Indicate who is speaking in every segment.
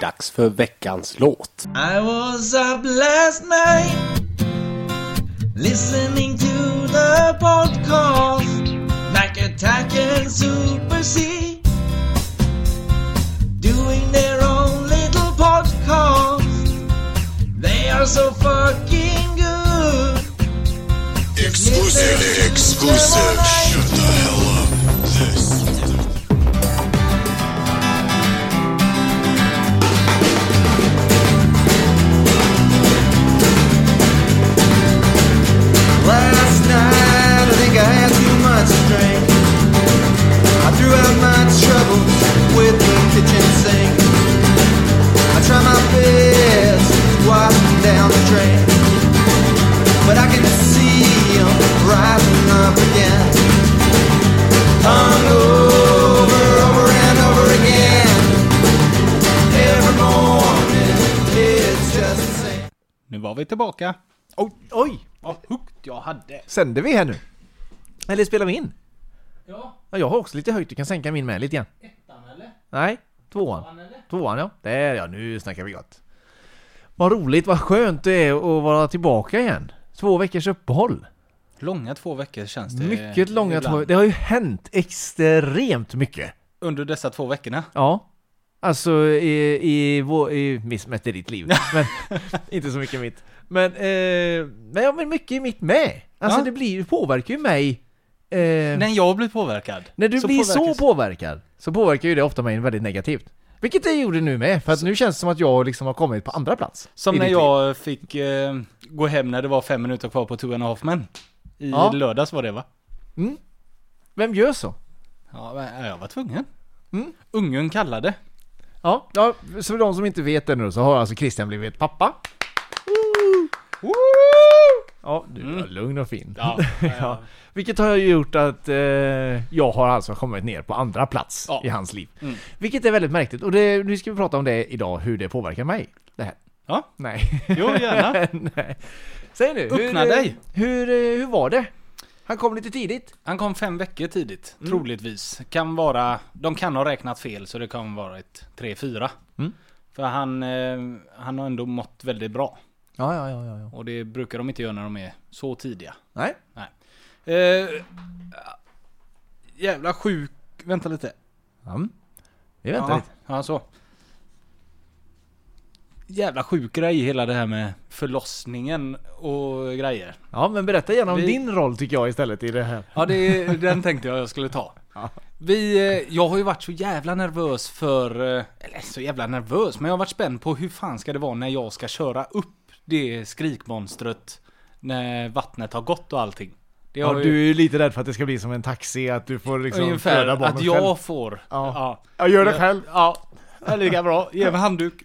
Speaker 1: Dags för veckans låt.
Speaker 2: I was up last night listening to the podcast Mac Attack and Super C doing their own little podcast. They are so fucking good.
Speaker 3: Exclusive, exclusive. Shut the hell up. This.
Speaker 2: Last night I think I had too much to drink. I threw out my troubles with the kitchen sink. I try my best to wash them down the drain. But I can see 'em rising up again. Hung over, over and over again. Every morning, it's just the same.
Speaker 4: Nu var vi tillbaka.
Speaker 5: Oj, oj!
Speaker 4: Vad högt jag hade.
Speaker 5: Sänder vi här nu? Eller spelar vi in? Ja. Jag har också lite höjt, du kan sänka min med lite grann. Ettan eller? Nej, tvåan. Tvåan eller? Tvåan ja. Där ja, nu snackar vi gott. Vad roligt, vad skönt det är att vara tillbaka igen. Två veckors uppehåll.
Speaker 4: Långa två veckor känns det.
Speaker 5: Mycket långa
Speaker 4: ibland.
Speaker 5: två Det har ju hänt extremt mycket.
Speaker 4: Under dessa två veckorna.
Speaker 5: Ja. Alltså i, i, vår, i mitt, mätte ditt liv. Men, inte så mycket i mitt. Men, eh, men, ja, men mycket i mitt med. Alltså
Speaker 4: Ja.
Speaker 5: det blir, påverkar ju mig. Eh,
Speaker 4: När jag blir påverkad.
Speaker 5: när du
Speaker 4: så
Speaker 5: blir så
Speaker 4: påverkas-
Speaker 5: påverkad så påverkar ju det ofta mig väldigt negativt. Vilket det gjorde nu med, för att nu känns det som att jag liksom har kommit på andra plats.
Speaker 4: Som
Speaker 5: i
Speaker 4: när
Speaker 5: ditt liv.
Speaker 4: jag fick eh, gå hem när det var fem minuter kvar på Two and a half men. I
Speaker 5: Ja.
Speaker 4: lördags var det va?
Speaker 5: Vem gör så?
Speaker 4: Ja, men jag var tvungen.
Speaker 5: Mm.
Speaker 4: Ungen kallade.
Speaker 5: Ja, ja, så för de som inte vet det nu så har alltså Christian blivit pappa. Ja, du var lugn och fin.
Speaker 4: Mm. Ja,
Speaker 5: Ja. Vilket har ju gjort att eh, jag har alltså kommit ner på andra plats
Speaker 4: Ja. Mm.
Speaker 5: i hans liv. Vilket är väldigt märkligt. Och det, nu ska vi prata om det idag, hur det påverkar mig. Det här.
Speaker 4: Ja.
Speaker 5: Nej.
Speaker 4: Jo, gärna.
Speaker 5: Nej. Säg nu.
Speaker 4: Öppna
Speaker 5: hur, eh,
Speaker 4: dig.
Speaker 5: Hur, eh, hur var det? Han kom lite tidigt.
Speaker 4: Han kom fem veckor tidigt,
Speaker 5: Mm.
Speaker 4: troligtvis. Kan vara, de kan ha räknat fel så det kan vara ett 3-4.
Speaker 5: Mm.
Speaker 4: För han, eh, han har ändå mått väldigt bra.
Speaker 5: Ja, ja, ja, ja. ja.
Speaker 4: Och det brukar de inte göra när de är så tidiga.
Speaker 5: Nej.
Speaker 4: Eh, jävla sjuk... Vänta lite.
Speaker 5: Mm. Vi väntar
Speaker 4: ja,
Speaker 5: lite.
Speaker 4: Ja, så. Jävla sjuk grej hela det här med förlossningen och grejer.
Speaker 5: Ja, men berätta gärna om
Speaker 4: Vi-
Speaker 5: din roll tycker jag istället i det här.
Speaker 4: Ja, det, den tänkte jag jag skulle ta. Vi, eh, jag har ju varit så jävla nervös för, eh, eller så jävla nervös, men jag har varit spänd på hur fan ska det vara när jag ska köra upp det skrikmonstret när vattnet har gått och allting. Det
Speaker 5: Ja,
Speaker 4: har
Speaker 5: du
Speaker 4: ju
Speaker 5: är ju lite rädd för att det ska bli som en taxi, att du får liksom
Speaker 4: ungefär
Speaker 5: föda barnen
Speaker 4: att jag
Speaker 5: själv.
Speaker 4: får.
Speaker 5: Ja.
Speaker 4: ja.
Speaker 5: Jag gör det själv.
Speaker 4: Ja, det är lika bra. Ge mig handduk.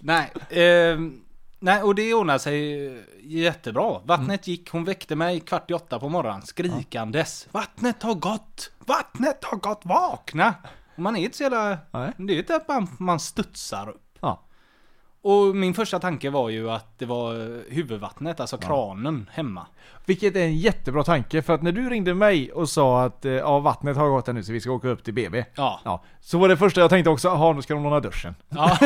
Speaker 4: Nej, ehm, nej, och det ordnade sig eh, jättebra. Vattnet gick, hon väckte mig kvart i åtta på morgonen skrikandes. Vattnet har gått! Vattnet har gått! Vakna! Och man är inte så jävla...
Speaker 5: Nej.
Speaker 4: Det är ju inte att man, man studsar upp.
Speaker 5: Ja.
Speaker 4: Och min första tanke var ju att det var eh, huvudvattnet, alltså kranen hemma.
Speaker 5: Vilket är en jättebra tanke, för att när du ringde mig och sa att eh, ja, vattnet har gått här nu så vi ska åka upp till BB.
Speaker 4: Ja.
Speaker 5: Ja, så var det första jag tänkte också, jaha nu ska de låna duschen.
Speaker 4: Ja.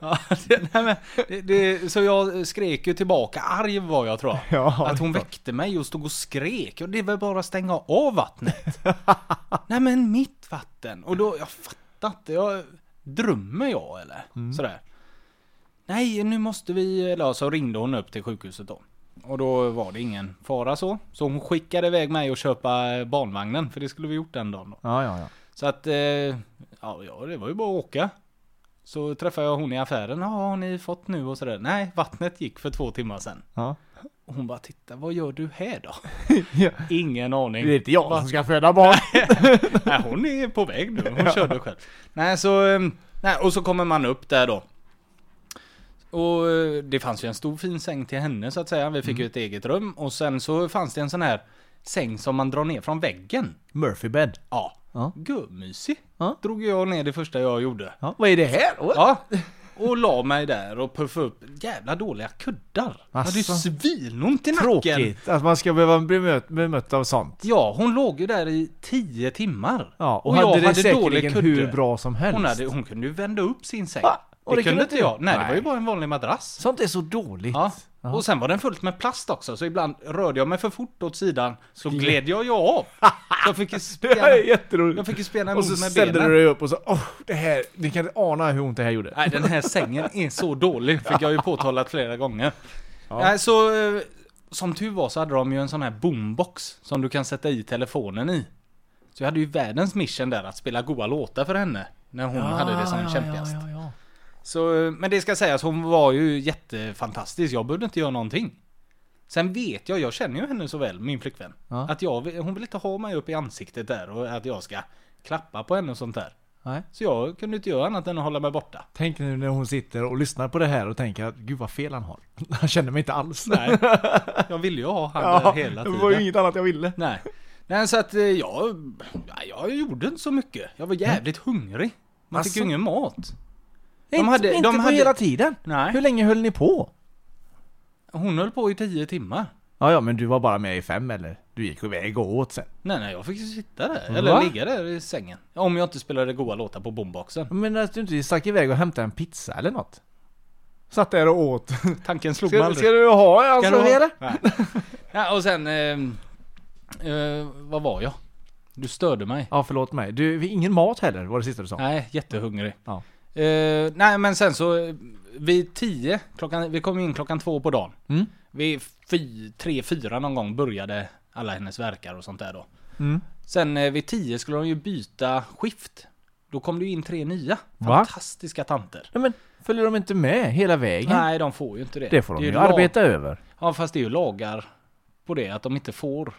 Speaker 4: ja, det, nej men, det, det, så jag skrek ju tillbaka, arg var jag tror jag.
Speaker 5: Ja,
Speaker 4: att hon väckte mig och stod och skrek. Och det är väl bara att stänga av vattnet. nej men mitt vatten. Och då, jag fattar inte. Jag, drömmer jag eller? Sådär. Nej, nu måste vi... Eller ja, så ringde hon upp till sjukhuset då. Och då var det ingen fara så. Så hon skickade iväg mig och köpa eh, barnvagnen. För det skulle vi gjort den dagen då.
Speaker 5: Ja, ja, ja.
Speaker 4: Så att, eh, ja, ja det var ju bara att åka. Så träffade jag hon i affären. Ja, har ni fått nu och sådär? Nej, vattnet gick för två timmar sedan.
Speaker 5: ja.
Speaker 4: Och hon bara, titta vad gör du här då? Ingen aning.
Speaker 5: Det är inte jag som ska föda barn.
Speaker 4: Nej, hon är på väg nu. Hon körde själv. Nej, så... eh, Nej, och så kommer man upp där då. Och eh, det fanns ju en stor fin säng till henne så att säga. Vi fick
Speaker 5: Mm.
Speaker 4: ju ett eget rum. Och sen så fanns det en sån här säng som man drar ner från väggen.
Speaker 5: Murphy bed.
Speaker 4: Ja.
Speaker 5: Ja.
Speaker 4: Gummysig.
Speaker 5: Ja.
Speaker 4: Drog jag ner det första jag gjorde.
Speaker 5: Ja, vad är det här?
Speaker 4: Ja. och la mig där och puffade upp jävla dåliga kuddar. Jag hade ju
Speaker 5: Asså.
Speaker 4: svinont i nacken.
Speaker 5: Tråkigt att man ska behöva bli mött, bemött av sånt.
Speaker 4: Ja, hon låg ju där i tio timmar.
Speaker 5: Ja, och, hade det säkerligen hur bra som helst.
Speaker 4: hon, hade, hon kunde ju vända upp sin säng.
Speaker 5: Va?
Speaker 4: Och det, kunde inte jag. Nej, det var ju bara en vanlig madrass.
Speaker 5: Sånt är så dåligt.
Speaker 4: Ja. Och sen var den fullt med plast också, så ibland rörde jag mig för fort åt sidan så gled jag ju av. Så jag fick ju
Speaker 5: Det här är
Speaker 4: spela,
Speaker 5: jätteroligt.
Speaker 4: jag fick ju spela
Speaker 5: Och
Speaker 4: emot
Speaker 5: så
Speaker 4: med
Speaker 5: ställde
Speaker 4: benen.
Speaker 5: du dig upp och så, åh, det här, ni kan inte ana hur ont det här gjorde.
Speaker 4: Nej, den här sängen är så dålig, fick jag ju påtalat flera gånger. Nej, så eh, som tur var så hade de ju en sån här boombox som du kan sätta i telefonen i. Så jag hade ju världens mission där att spela goa låtar för henne. När hon hade det som kämpigast.
Speaker 5: Ja, ja,
Speaker 4: Så, eh, men det ska sägas, hon var ju jättefantastisk. Jag behövde inte göra någonting. Sen vet jag, jag känner ju henne så väl, min flickvän.
Speaker 5: Ja.
Speaker 4: Att jag, vill- hon vill inte ha mig upp i ansiktet där och att jag ska klappa på henne och sånt där.
Speaker 5: ja. Nej.
Speaker 4: Så jag kunde inte göra annat än att hålla mig borta.
Speaker 5: Tänk nu när hon sitter och lyssnar på det här och tänker att gud vad fel han har. Han känner mig inte alls.
Speaker 4: Nej, jag ville ju ha han där
Speaker 5: det
Speaker 4: hela tiden.
Speaker 5: var ju inget annat jag ville.
Speaker 4: Nej. Nej, så att eh, jag, ja, jag gjorde inte så mycket. Jag var jävligt hungrig. Man fick
Speaker 5: Asså?
Speaker 4: ju ingen mat.
Speaker 5: De inte
Speaker 4: hade-
Speaker 5: inte
Speaker 4: de
Speaker 5: på
Speaker 4: hade-
Speaker 5: hela tiden.
Speaker 4: Nej.
Speaker 5: Hur länge höll ni på?
Speaker 4: Hon höll på i tio timmar.
Speaker 5: Ja, ja, men du var bara med i fem eller? Du gick iväg och åt sen.
Speaker 4: Nej, nej, jag fick ju sitta där. Eller
Speaker 5: Va?
Speaker 4: ligga där i sängen. Om jag inte spelade goa låtar på bomboxen.
Speaker 5: Men att du inte stack iväg och hämtade en pizza eller något? Satt där och åt.
Speaker 4: Tanken slog mig
Speaker 5: Ska,
Speaker 4: aldrig.
Speaker 5: ska du ha en
Speaker 4: Ska
Speaker 5: alltså,
Speaker 4: du ha-
Speaker 5: eller?
Speaker 4: Nej. Ja, och sen... Eh, eh, vad var jag? Du störde mig.
Speaker 5: Ja, förlåt mig. Du, vi- ingen mat heller var det sista du sa.
Speaker 4: Nej, jättehungrig.
Speaker 5: Ja.
Speaker 4: Eh, nej men sen så, eh, vid 10, klockan, vi kom in klockan två på dagen.
Speaker 5: Mm.
Speaker 4: Vid fy, tre, fyra någon gång började alla hennes verkar och sånt där då.
Speaker 5: Mm.
Speaker 4: Sen eh, vid 10 skulle de ju byta skift. Då kom det ju in tre nya.
Speaker 5: Va?
Speaker 4: Fantastiska tanter.
Speaker 5: Nej, men följer de inte med hela vägen?
Speaker 4: Nej, de får ju inte det.
Speaker 5: Det får de
Speaker 4: är
Speaker 5: ju
Speaker 4: lag-
Speaker 5: arbeta över.
Speaker 4: Ja, fast det är ju lagar på det, att de inte får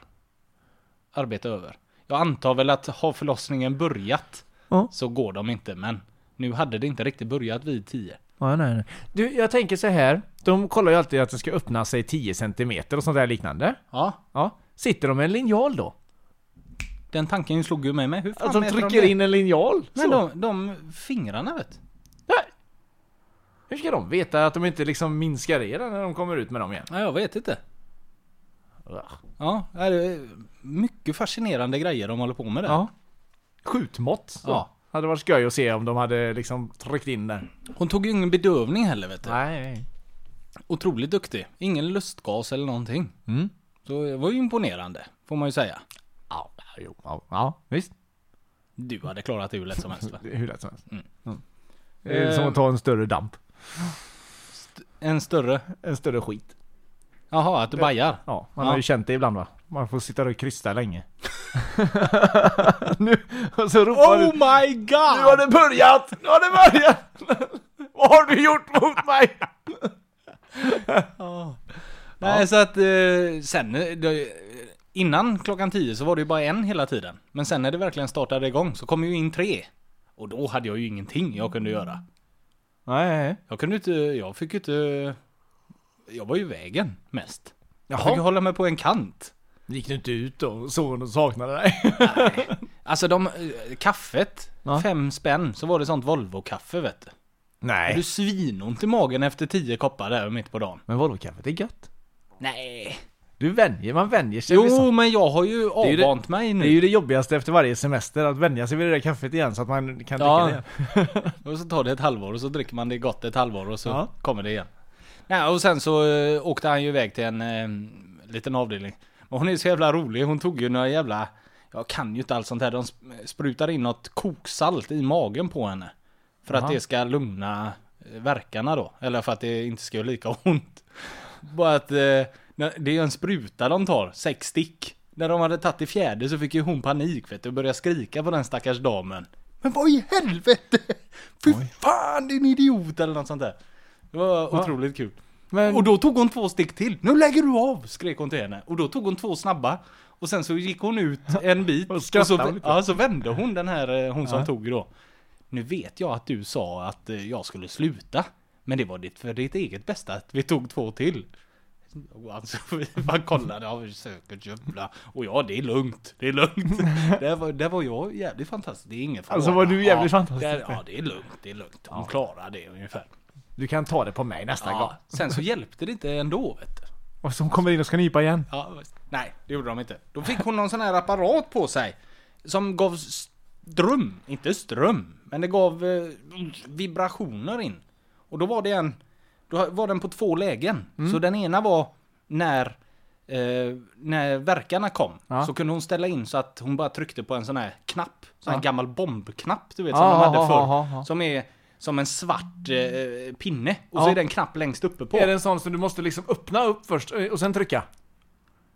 Speaker 4: arbeta över. Jag antar väl att har förlossningen börjat
Speaker 5: Ja.
Speaker 4: så går de inte, men nu hade det inte riktigt börjat vid 10.
Speaker 5: Ja, nej, nej. Du, jag tänker så här. De kollar ju alltid att den ska öppna sig 10 cm och sånt där liknande.
Speaker 4: Ja,
Speaker 5: Ja. Sitter de med en linjal då?
Speaker 4: den tanken slog ju mig med. Hur fan
Speaker 5: Att Alltså, de
Speaker 4: mäter
Speaker 5: trycker
Speaker 4: det?
Speaker 5: in en linjal?
Speaker 4: Men
Speaker 5: så.
Speaker 4: de, de fingrarna vet.
Speaker 5: Nej. Hur ska de veta att de inte liksom minskar i den när de kommer ut med dem igen?
Speaker 4: Ja, jag vet inte.
Speaker 5: Ja.
Speaker 4: Ja, det är mycket fascinerande grejer de håller på med där.
Speaker 5: Skjutmått. så.
Speaker 4: Ja.
Speaker 5: Hade varit skoj att se om de hade liksom tryckt in den.
Speaker 4: Hon tog ju ingen bedövning heller vet du.
Speaker 5: Nej.
Speaker 4: Otroligt duktig. Ingen lustgas eller någonting.
Speaker 5: Mm.
Speaker 4: Så det var ju imponerande, får man ju säga.
Speaker 5: Ja, jo, ja, ja visst.
Speaker 4: Du hade klarat det hur lätt som helst va?
Speaker 5: Det är hur lätt som helst.
Speaker 4: Mm.
Speaker 5: Mm. Det är som att ta en större damp.
Speaker 4: En större?
Speaker 5: En större skit.
Speaker 4: Jaha, att du bajar?
Speaker 5: Ja, man
Speaker 4: Ja.
Speaker 5: har ju känt det ibland va? Man får sitta och krysta länge. nu, och så ropar du.
Speaker 4: my
Speaker 5: Nu har
Speaker 4: god!
Speaker 5: det börjat! Nu har det börjat! Vad har du gjort mot mig?
Speaker 4: Nej, så att eh, sen... eh, Det, innan klockan 10 så var det ju bara en hela tiden. Men sen när det verkligen startade igång så kom ju in tre. Och då hade jag ju ingenting jag kunde
Speaker 5: Mm.
Speaker 4: göra.
Speaker 5: Nej.
Speaker 4: Jag kunde inte... Jag fick ju inte... Jag var ju i vägen mest. Jag
Speaker 5: Jaha.
Speaker 4: fick ju hålla mig på en kant.
Speaker 5: Gick du inte ut och såg och saknade dig?
Speaker 4: Alltså de... eh, Kaffet.
Speaker 5: Ja.
Speaker 4: Fem spänn. Så var det sånt Volvo-kaffe vet du.
Speaker 5: Nej.
Speaker 4: Är du svinont i magen efter tio koppar där mitt på dagen?
Speaker 5: Men vadå kaffet är gött?
Speaker 4: Nej.
Speaker 5: Du vänjer, man vänjer sig vid
Speaker 4: Jo,
Speaker 5: sånt.
Speaker 4: men jag har ju
Speaker 5: är ju det-
Speaker 4: avvant mig
Speaker 5: Det är ju
Speaker 4: nu.
Speaker 5: det jobbigaste efter varje semester, att vänja sig vid det där kaffet igen så att man kan
Speaker 4: Ja.
Speaker 5: dricka det igen.
Speaker 4: Och så tar det ett halvår och så dricker man det gott ett halvår och så
Speaker 5: Ja.
Speaker 4: kommer det igen. Nej, och sen så eh, åkte han ju iväg till en eh, liten avdelning. Men hon är så jävla rolig, hon tog ju några jävla... Jag kan ju inte allt sånt här. De sp- sprutar in något koksalt i magen på henne. För att
Speaker 5: Jaha.
Speaker 4: det ska lugna eh, verkarna då. Eller för att det inte ska göra lika ont. Bara att eh, när- det är ju en spruta de tar, sex stick. När de hade tagit i fjärde så fick ju hon panik vet du, och började skrika på den stackars damen. Men vad i helvete! Fy fan din idiot! Eller något sånt där. Det var otroligt kul.
Speaker 5: Men-
Speaker 4: Och då tog hon två stick till. Nu lägger du av! Skrek hon till henne. Och då tog hon två snabba. Och sen så gick hon ut en bit.
Speaker 5: Och
Speaker 4: och
Speaker 5: skrattade
Speaker 4: så,
Speaker 5: lite.
Speaker 4: ja, så vände hon den här, eh, hon som tog då. Nu vet jag att du sa att eh, jag skulle sluta. Men det var ditt, för ditt eget bästa att vi tog två till. Och alltså, vi bara kollade, ja vi söker jävla. Och ja, det är lugnt, det är lugnt. Där var, där var jag jävligt fantastisk, det är ingen fara.
Speaker 5: Alltså, var du jävligt
Speaker 4: ja,
Speaker 5: fantastisk.
Speaker 4: Där, ja, det är lugnt, det är lugnt. Hon klarar det ungefär.
Speaker 5: Du kan ta det på mig nästa gång.
Speaker 4: Ja. Sen så hjälpte det inte ändå vet du.
Speaker 5: Och så kommer in och ska nypa igen.
Speaker 4: Ja, visst. nej, det gjorde de inte. Då fick hon någon sån här apparat på sig. Som gav ström, inte ström, men det gav eh, vibrationer in. Och då var det en, då var den på två lägen.
Speaker 5: Mm.
Speaker 4: Så den ena var när, eh, när verkarna kom.
Speaker 5: Ja.
Speaker 4: Så kunde hon ställa in så att hon bara tryckte på en sån här knapp. Sån här
Speaker 5: Ja.
Speaker 4: gammal bombknapp du vet
Speaker 5: Ja,
Speaker 4: som de
Speaker 5: ja,
Speaker 4: hade
Speaker 5: ja,
Speaker 4: förr.
Speaker 5: ja, ja.
Speaker 4: Som är som en svart eh, pinne. Och så
Speaker 5: Ja.
Speaker 4: är det en knapp längst uppe på.
Speaker 5: Är det en sån som du måste liksom öppna upp först eh, och sen trycka?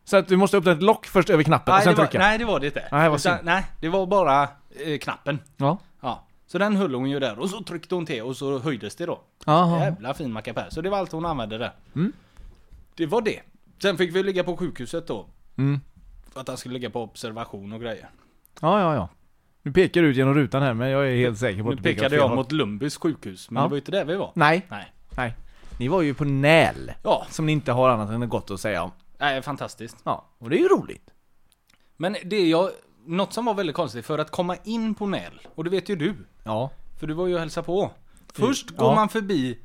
Speaker 5: Så att du måste öppna ett lock först över knappen och
Speaker 4: Nej,
Speaker 5: sen
Speaker 4: det var,
Speaker 5: trycka?
Speaker 4: nej, det var det inte.
Speaker 5: Nej, vad
Speaker 4: Utan-
Speaker 5: synd.
Speaker 4: nej, det var bara eh, knappen.
Speaker 5: Ja.
Speaker 4: Ja. Så den höll hon ju där och så tryckte hon till och så höjdes det då.
Speaker 5: Jaha.
Speaker 4: Jävla fin mackapär. Så det var allt hon använde där.
Speaker 5: Mm.
Speaker 4: Det var det. Sen fick vi ligga på sjukhuset då.
Speaker 5: Mm.
Speaker 4: För att han skulle ligga på observation och grejer.
Speaker 5: Ja, ja, ja. Nu pekar du ut genom rutan här men jag är helt säker på
Speaker 4: Nu
Speaker 5: att du pekar åt
Speaker 4: pekade
Speaker 5: fel
Speaker 4: jag
Speaker 5: håll.
Speaker 4: mot Lundbys sjukhus, men
Speaker 5: Ja.
Speaker 4: det var ju inte där vi var.
Speaker 5: Nej,
Speaker 4: Nej.
Speaker 5: nej. Ni var ju på Näl.
Speaker 4: Ja,
Speaker 5: Som ni inte har annat än gott att säga om.
Speaker 4: nej, fantastiskt.
Speaker 5: Ja, och det är ju roligt.
Speaker 4: Men det jag, något som var väldigt konstigt, för att komma in på Nell, och det vet ju du,
Speaker 5: Ja.
Speaker 4: för du var ju och hälsade på. Först
Speaker 5: Typ. Ja.
Speaker 4: går man förbi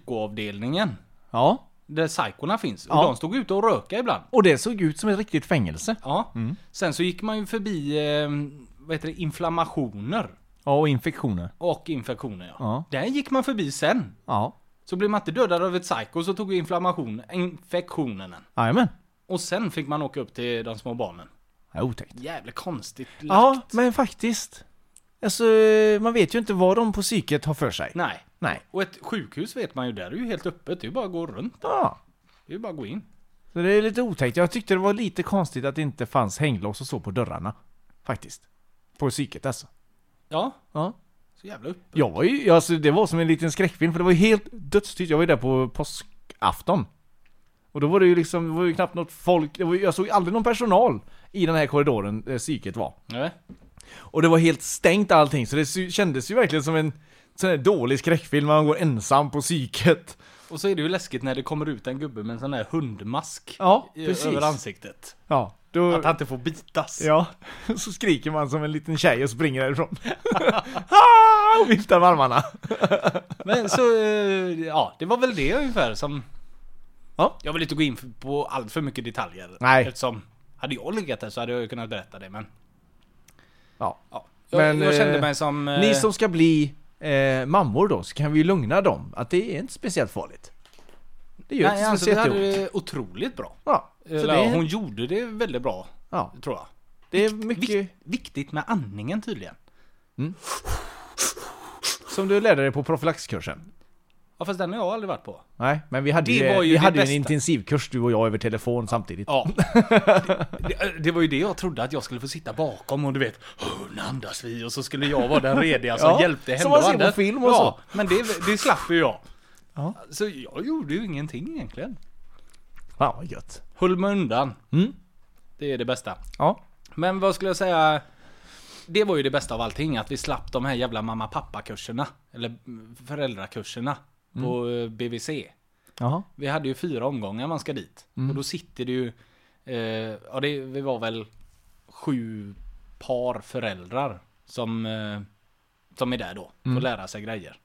Speaker 4: psykoavdelningen.
Speaker 5: Ja.
Speaker 4: där psykorna finns. Och
Speaker 5: Ja.
Speaker 4: de stod ute och röka ibland.
Speaker 5: Och det såg ut som ett riktigt fängelse.
Speaker 4: Ja.
Speaker 5: Mm.
Speaker 4: Sen så gick man ju förbi, eh, vad heter det, inflammationer
Speaker 5: Ja, och infektioner.
Speaker 4: och infektioner. Ja.
Speaker 5: Ja.
Speaker 4: Där gick man förbi sen.
Speaker 5: Ja.
Speaker 4: Så blev man inte dödad av ett psyko så tog inflammation, infektionen en.
Speaker 5: Jajamän.
Speaker 4: Och sen fick man åka upp till de små barnen.
Speaker 5: Ja, otäckt.
Speaker 4: Jävligt konstigt lagt.
Speaker 5: Ja, men faktiskt. Alltså, man vet ju inte vad de på psyket har för sig.
Speaker 4: Nej.
Speaker 5: Nej.
Speaker 4: Och ett sjukhus vet man ju, där är ju helt öppet. Det är ju bara att gå runt.
Speaker 5: Ja.
Speaker 4: Det är ju bara att gå in.
Speaker 5: Så det är lite otäckt. Jag tyckte det var lite konstigt att det inte fanns hänglås och så på dörrarna. Faktiskt. På psyket alltså.
Speaker 4: Ja,
Speaker 5: Ja.
Speaker 4: så jävla öppet.
Speaker 5: Jag var ju, alltså det var som en liten skräckfilm för det var ju helt dödstyst. Jag var ju där på påskafton. Och då var det ju liksom, det var ju knappt något folk. Det var, ju- jag såg aldrig någon personal i den här korridoren där psyket var.
Speaker 4: Nej.
Speaker 5: Och det var helt stängt allting, så det sy- kändes ju verkligen som en sån här dålig skräckfilm när man går ensam på psyket.
Speaker 4: Och så är det ju läskigt när det kommer ut en gubbe med en sån där hundmask
Speaker 5: Ja,
Speaker 4: i-
Speaker 5: precis.
Speaker 4: över ansiktet.
Speaker 5: Ja, då...
Speaker 4: Att han inte får bitas.
Speaker 5: Ja, så skriker man som en liten tjej och springer därifrån. Ah, och viftar med armarna.
Speaker 4: Men så, eh, ja, det var väl det ungefär som...
Speaker 5: Ja.
Speaker 4: Jag vill inte gå in f- på allt för mycket detaljer.
Speaker 5: Nej.
Speaker 4: Eftersom, hade jag legat där så hade jag ju kunnat berätta det, men...
Speaker 5: Ja.
Speaker 4: Ja.
Speaker 5: Men,
Speaker 4: jag, jag kände
Speaker 5: eh,
Speaker 4: mig som... eh,
Speaker 5: Ni som ska bli eh, mammor då, så kan vi ju lugna dem att det är inte speciellt farligt. Det gör
Speaker 4: Nej,
Speaker 5: inte
Speaker 4: alltså, det
Speaker 5: speciellt
Speaker 4: hade
Speaker 5: ont.
Speaker 4: det otroligt bra.
Speaker 5: Ja, så det,
Speaker 4: Eller, ja,
Speaker 5: är,
Speaker 4: Hon gjorde det väldigt bra,
Speaker 5: ja,
Speaker 4: tror jag.
Speaker 5: det är mycket
Speaker 4: Vik- viktigt med andningen tydligen.
Speaker 5: som du lärde dig på profylaxkursen.
Speaker 4: Ja, fast den har jag aldrig varit på.
Speaker 5: Nej, men vi hade
Speaker 4: Det
Speaker 5: ju,
Speaker 4: var ju
Speaker 5: vi
Speaker 4: det
Speaker 5: hade ju en
Speaker 4: bästa.
Speaker 5: intensivkurs du och jag över telefon samtidigt.
Speaker 4: Ja. Det, eh, det var ju det jag trodde att jag skulle få sitta bakom och du vet, "Åh, nu andas vi och så skulle jag vara den rediga som
Speaker 5: Ja,
Speaker 4: hjälpte henne
Speaker 5: som man
Speaker 4: att
Speaker 5: ser på
Speaker 4: andas.
Speaker 5: film och
Speaker 4: ja, men det, det slapp ju jag.
Speaker 5: Ja.
Speaker 4: Så jag gjorde ju ingenting egentligen.
Speaker 5: Fan vad gött.
Speaker 4: Höll mig undan.
Speaker 5: Mm.
Speaker 4: Det är det bästa.
Speaker 5: Ja.
Speaker 4: Men vad skulle jag säga? Det var ju det bästa av allting, att vi slapp de här jävla mamma pappa kurserna. Eller mm, föräldrakurserna. På
Speaker 5: Mm.
Speaker 4: eh, BVC.
Speaker 5: Jaha.
Speaker 4: Vi hade ju fyra omgångar man ska dit. Och
Speaker 5: Mm.
Speaker 4: då sitter det ju... Eh, ja, det, vi var väl sju par föräldrar som, eh, som är där då. Får lära sig grejer.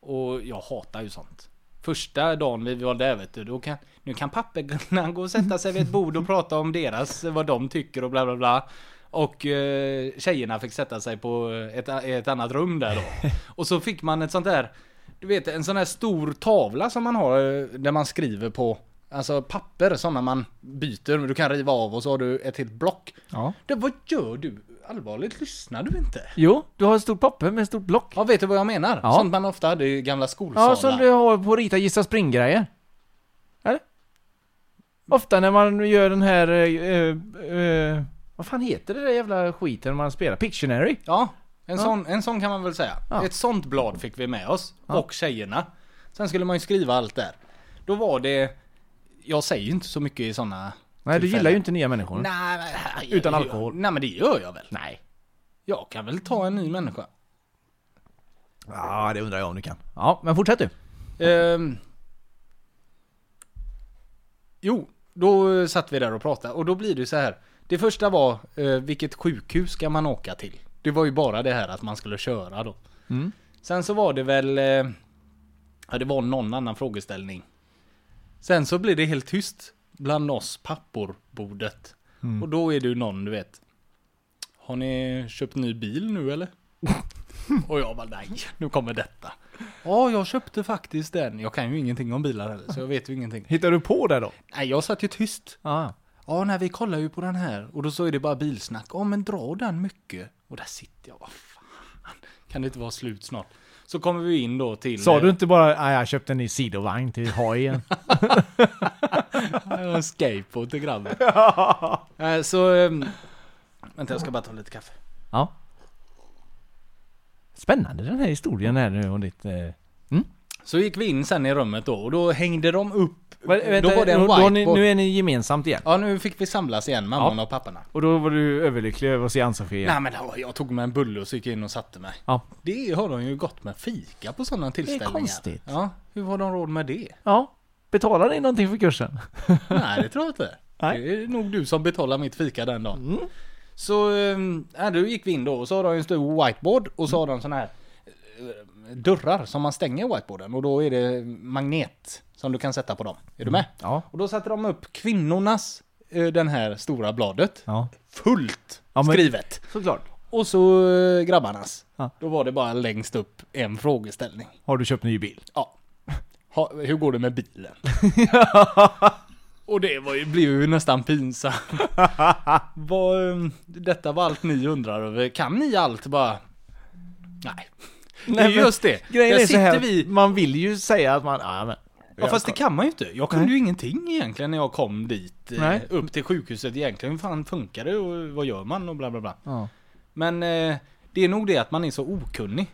Speaker 4: Och jag hatar ju sånt. Första dagen vi var där vet du, då kan, nu kan papporna gå och sätta sig vid ett bord och prata om deras, vad de tycker och bla bla bla. Och eh, tjejerna fick sätta sig på ett, ett annat rum där då. Och så fick man ett sånt där, du vet en sån här stor tavla som man har eh, där man skriver på, alltså papper sådana man byter, du kan riva av och så har du ett helt block.
Speaker 5: Ja.
Speaker 4: Det, vad gör du? Allvarligt, lyssnar du inte?
Speaker 5: Jo, du har ett stort papper med ett stort block.
Speaker 4: Ja, vet du vad jag menar?
Speaker 5: Ja.
Speaker 4: Sånt man ofta hade i gamla skolsalar.
Speaker 5: Ja, som du har på Rita Gissa Spring-grejer. Eller? Ofta när man gör den här... eh, eh, vad fan heter det där jävla skiten man spelar? Pictionary?
Speaker 4: Ja, en, Sån, en sån kan man väl säga.
Speaker 5: Ja.
Speaker 4: Ett sånt blad fick vi med oss. Och tjejerna. Sen skulle man ju skriva allt där. Då var det... Jag säger ju inte så mycket i såna...
Speaker 5: Nej, du
Speaker 4: tillfällen.
Speaker 5: gillar ju inte nya människor.
Speaker 4: Nej, men-
Speaker 5: Utan alkohol.
Speaker 4: Nej, men det gör jag väl.
Speaker 5: Nej.
Speaker 4: Jag kan väl ta en ny människa.
Speaker 5: Ja, det undrar jag om du kan. Ja, men fortsätt du.
Speaker 4: Ehm. Jo, då eh, satt vi där och pratade och då blir det så här. Det första var eh, vilket sjukhus ska man åka till? Det var ju bara det här att man skulle köra då. Sen så var det väl eh, Ja, det var någon annan frågeställning. Sen så blir det helt tyst bland oss pappor-bordet. Och då är du någon, du vet. Har ni köpt ny bil nu eller? Och jag bara nej, nu kommer detta. Ja, jag köpte faktiskt den. Jag kan ju ingenting om bilar heller, så jag vet ju ingenting.
Speaker 5: Hittar du på det då?
Speaker 4: Nej, jag satt ju tyst.
Speaker 5: Ja.
Speaker 4: Ja, nej, vi kollar ju på den här. Och då så är det bara bilsnack. Ja, men dra den mycket. Och där sitter jag. Vad fan, kan det inte vara slut snart? Så kommer vi in då till...
Speaker 5: Sa du inte bara att jag köpte en ny sidovagn till hojen?
Speaker 4: Jag har eh, en skateboard till grabben. Eh, Så... ehm, Vänta, jag ska bara ta lite kaffe.
Speaker 5: ja. Spännande den här historien här nu och ditt... Eh... Mm?
Speaker 4: Så gick vi in sen i rummet då och då hängde de upp...
Speaker 5: Va- vänta,
Speaker 4: då var det en
Speaker 5: då- då har ni,
Speaker 4: whiteboard.
Speaker 5: Nu är ni gemensamt igen.
Speaker 4: Ja, nu fick vi samlas igen, mamman och papporna.
Speaker 5: Och då var du överlycklig över att se Ann-Sofie igen.
Speaker 4: Nej men hallå, jag tog med en bulle och så gick jag in och satte mig.
Speaker 5: Ja.
Speaker 4: Det har de ju gott med fika på sådana tillställningar.
Speaker 5: konstigt.
Speaker 4: Ja, hur har de råd med det?
Speaker 5: ja. Betalar ni någonting för kursen?
Speaker 4: Nej, det tror jag inte.
Speaker 5: Nej. Mm.
Speaker 4: Det är nog du som betalar mitt fika den dagen. Så, ehm, ja, då gick vi in då och så har de en stor whiteboard och så har de sådana här eh, dörrar som man stänger whiteboarden och då är det magnet som du kan sätta på dem. Är du med?
Speaker 5: Mm. Ja.
Speaker 4: Och då satte de upp kvinnornas, eh, den här stora bladet,
Speaker 5: Ja.
Speaker 4: fullt
Speaker 5: Ja, men-
Speaker 4: skrivet.
Speaker 5: Såklart.
Speaker 4: Och så eh, grabbarnas.
Speaker 5: Ja.
Speaker 4: Då var det bara längst upp en frågeställning.
Speaker 5: Har du köpt ny bil?
Speaker 4: Ja. Ha, hur går det med bilen? Och det var ju, blev ju nästan pinsamt. Vad, eh, detta var allt ni undrar över. Kan ni allt bara? Nej. det är
Speaker 5: Nej, men
Speaker 4: just det.
Speaker 5: Grejen
Speaker 4: Där
Speaker 5: är så
Speaker 4: sitter
Speaker 5: här,
Speaker 4: vi.
Speaker 5: man vill ju säga att man... Ja, men,
Speaker 4: Ja, fast det kan man ju inte. Jag kunde ju ingenting egentligen när jag kom dit. eh,
Speaker 5: Nej.
Speaker 4: Upp till sjukhuset egentligen. Hur fan funkar det och vad gör man och bla bla bla.
Speaker 5: ja.
Speaker 4: Men eh, det är nog det att man är så okunnig.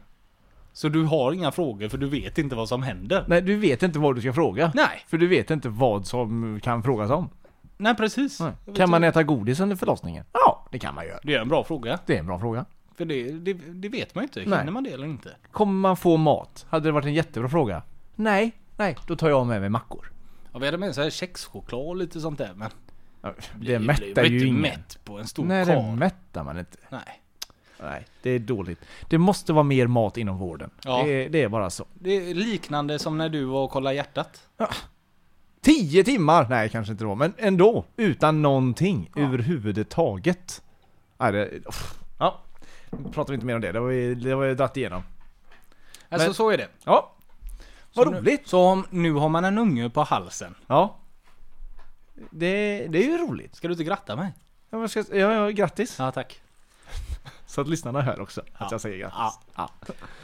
Speaker 4: Så du har inga frågor för du vet inte vad som händer.
Speaker 5: Nej, du vet inte vad du ska fråga.
Speaker 4: Nej.
Speaker 5: För du vet inte vad som kan frågas om.
Speaker 4: Nej, precis. Jag vet
Speaker 5: Kan man
Speaker 4: inte.
Speaker 5: äta godis under förlossningen? Ja, det kan man göra.
Speaker 4: Det är en bra fråga.
Speaker 5: Det är en bra fråga.
Speaker 4: För det, det, det vet man ju inte.
Speaker 5: Nej.
Speaker 4: Hinner man det eller inte?
Speaker 5: Kommer man få mat? Hade det varit en jättebra fråga? Nej, nej, då tar jag med mig mackor.
Speaker 4: Ja, vi hade med så här kexchoklad och lite sånt där. Men
Speaker 5: Ja,
Speaker 4: vi
Speaker 5: Det
Speaker 4: blev
Speaker 5: mättar
Speaker 4: inte
Speaker 5: ju ingen.
Speaker 4: mätt på en stor
Speaker 5: Nej, det
Speaker 4: karl.
Speaker 5: mättar man inte.
Speaker 4: Nej.
Speaker 5: Nej, det är dåligt. Det måste vara mer mat inom vården.
Speaker 4: Ja.
Speaker 5: Det, är, det är bara så.
Speaker 4: Det är liknande som när du var och kollade hjärtat.
Speaker 5: Tio timmar! Nej, kanske inte då, men ändå. Utan någonting överhuvudtaget. Nej, det, uff. ja, nu pratar vi inte mer om det. Det har vi, det har vi dratt igenom.
Speaker 4: Alltså
Speaker 5: Men-
Speaker 4: så är det.
Speaker 5: Ja. Vad
Speaker 4: Så nu-
Speaker 5: roligt!
Speaker 4: Så om, nu har man en unge på halsen.
Speaker 5: Ja. Det, det är ju roligt.
Speaker 4: Ska du inte gratta mig?
Speaker 5: Ja, men ska, ja, ja, grattis.
Speaker 4: Ja, tack.
Speaker 5: Så att lyssnarna hör också
Speaker 4: Ja.
Speaker 5: att jag säger grattis.
Speaker 4: Ja.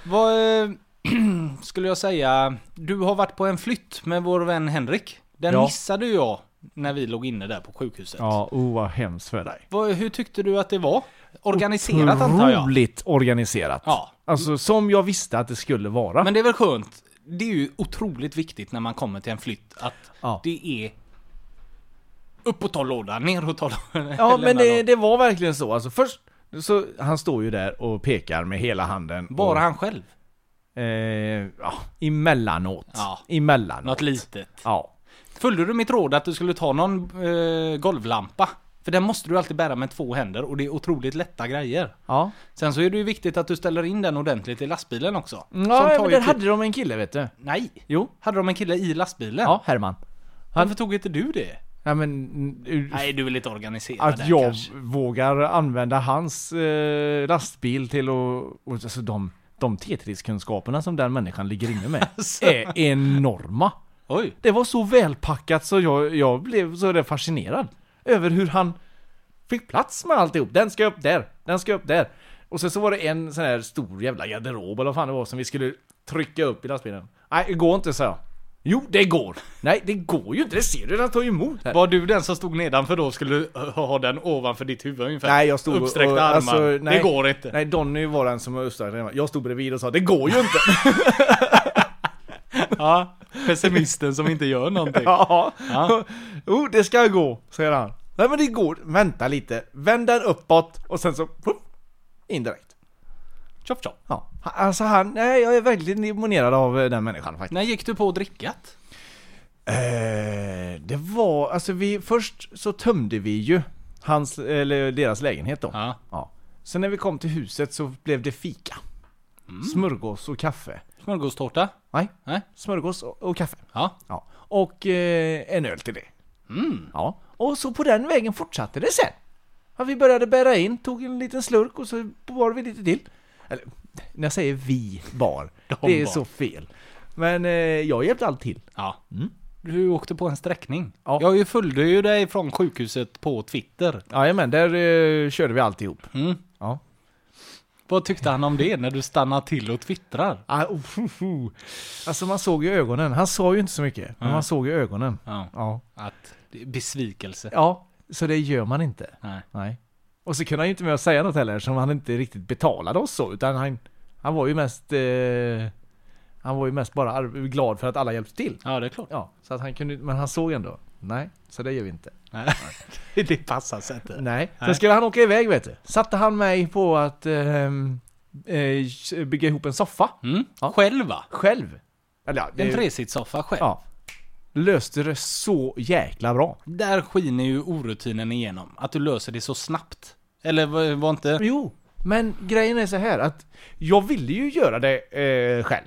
Speaker 4: Vad eh, skulle jag säga? Du har varit på en flytt med vår vän Henrik. Den
Speaker 5: Ja.
Speaker 4: missade jag när vi låg inne där på sjukhuset.
Speaker 5: Ja, oh, vad hemskt för dig.
Speaker 4: Vad, hur tyckte du att det var? Organiserat antar jag.
Speaker 5: Otroligt organiserat.
Speaker 4: Ja.
Speaker 5: Alltså som jag visste att det skulle vara.
Speaker 4: Men det är väl skönt? Det är ju otroligt viktigt när man kommer till en flytt att
Speaker 5: Ja.
Speaker 4: det är upp och ta låda, ner och ta låda.
Speaker 5: ja,
Speaker 4: lämna
Speaker 5: men det,
Speaker 4: låda.
Speaker 5: det var verkligen så. Alltså först, så han står ju där och pekar med hela handen.
Speaker 4: Bara
Speaker 5: och,
Speaker 4: han själv.
Speaker 5: Eh, ja, emellanåt.
Speaker 4: Ja.
Speaker 5: Emellanåt.
Speaker 4: Något litet.
Speaker 5: Ja.
Speaker 4: Följde du mitt råd att du skulle ta någon eh, golvlampa? För den måste du alltid bära med två händer och det är otroligt lätta grejer.
Speaker 5: Ja.
Speaker 4: Sen så är det ju viktigt att du ställer in den ordentligt i lastbilen också. Som
Speaker 5: ja
Speaker 4: tar
Speaker 5: men
Speaker 4: ju
Speaker 5: där
Speaker 4: tid.
Speaker 5: hade de en kille vet du.
Speaker 4: Nej!
Speaker 5: Jo.
Speaker 4: Hade de en kille i lastbilen?
Speaker 5: Ja, Herman.
Speaker 4: Varför tog inte du det?
Speaker 5: Ja, men, ur-
Speaker 4: Nej, du vill inte organisera
Speaker 5: att
Speaker 4: den
Speaker 5: jag
Speaker 4: kanske.
Speaker 5: vågar använda hans eh, lastbil till att... och, alltså de, de Tetris-kunskaperna som den människan ligger inne med är enorma.
Speaker 4: Oj!
Speaker 5: Det var så välpackat så jag, jag blev så där fascinerad över hur han fick plats med alltihop. Den ska upp där, den ska upp där. Och sen så var det en sån här stor jävla garderob eller vad fan det var som vi skulle trycka upp i lastbilen. Nej, det går inte, sa jag. Jo, det går! Nej, det går ju inte, det ser du, den tar ju emot här.
Speaker 4: Var du den som stod nedanför då skulle du ha den ovanför ditt huvud ungefär?
Speaker 5: Nej jag stod alltså,
Speaker 4: Uppsträckta armar.
Speaker 5: nej,
Speaker 4: det går inte.
Speaker 5: Nej Donny var den som var uppsträckta armar. Jag stod bredvid och sa det går ju inte.
Speaker 4: Ja, pessimisten som inte gör någonting.
Speaker 5: ja. Jo det ska gå, säger han. Nej men det går. Vänta lite. Vänd den uppåt och sen så puff, indirekt.
Speaker 4: Tjoff tjoff.
Speaker 5: Ja. Ha- Alltså han, nej jag är verkligen imponerad av eh, den människan faktiskt.
Speaker 4: När gick du på och drickat?
Speaker 5: Eh, det var, alltså vi, först så tömde vi ju hans, eller deras lägenhet då.
Speaker 4: Ja.
Speaker 5: ja. Sen när vi kom till huset så blev det fika. Smörgås och kaffe.
Speaker 4: Smörgåstårta?
Speaker 5: Nej.
Speaker 4: Nej.
Speaker 5: Smörgås och, och kaffe.
Speaker 4: Ja.
Speaker 5: Ja. Och eh, en öl till det. Ja. Och så på den vägen fortsatte det sen. Ja, vi började bära in, tog en liten slurk och så bar vi lite till. Eller, när jag säger vi bar,
Speaker 4: De
Speaker 5: det är
Speaker 4: bar.
Speaker 5: så fel. Men eh, jag hjälpte allt till.
Speaker 4: ja. Du åkte på en sträckning.
Speaker 5: Mm. Ja.
Speaker 4: Jag ju följde ju dig från sjukhuset på Twitter.
Speaker 5: Jajamän, där eh, körde vi alltihop.
Speaker 4: Mm.
Speaker 5: Ja.
Speaker 4: Vad tyckte han om det när du stannar till och twittrar?
Speaker 5: Ah, oh, oh, oh. Alltså man såg ju ögonen. Han sa ju inte så mycket, men man såg ju ögonen.
Speaker 4: Ja.
Speaker 5: Ja.
Speaker 4: Att det är besvikelse.
Speaker 5: ja, så det gör man inte.
Speaker 4: Nej.
Speaker 5: Nej. Och så kunde han ju inte med att säga något heller som han inte riktigt betalade oss så. Utan han, han var ju mest... Eh, han var ju mest bara ar- glad för att alla hjälpte till.
Speaker 4: Ja, det är klart.
Speaker 5: Ja, så att han kunde, men han såg ändå. Nej, så det gör vi inte.
Speaker 4: Nej. det passar sig inte.
Speaker 5: Nej. Sen
Speaker 4: Nej.
Speaker 5: skulle han åka iväg vet du. Satte han mig på att eh, eh, bygga ihop en soffa.
Speaker 4: Mm.
Speaker 5: Ja.
Speaker 4: Själv va?
Speaker 5: Själv. Eller ja, det-
Speaker 4: En tresitssoffa själv.
Speaker 5: Ja. Löste det så jäkla bra.
Speaker 4: Där skiner ju orutinen igenom. Att du löser det så snabbt. Eller var, var inte...
Speaker 5: Jo, men grejen är så här att jag ville ju göra det eh, själv.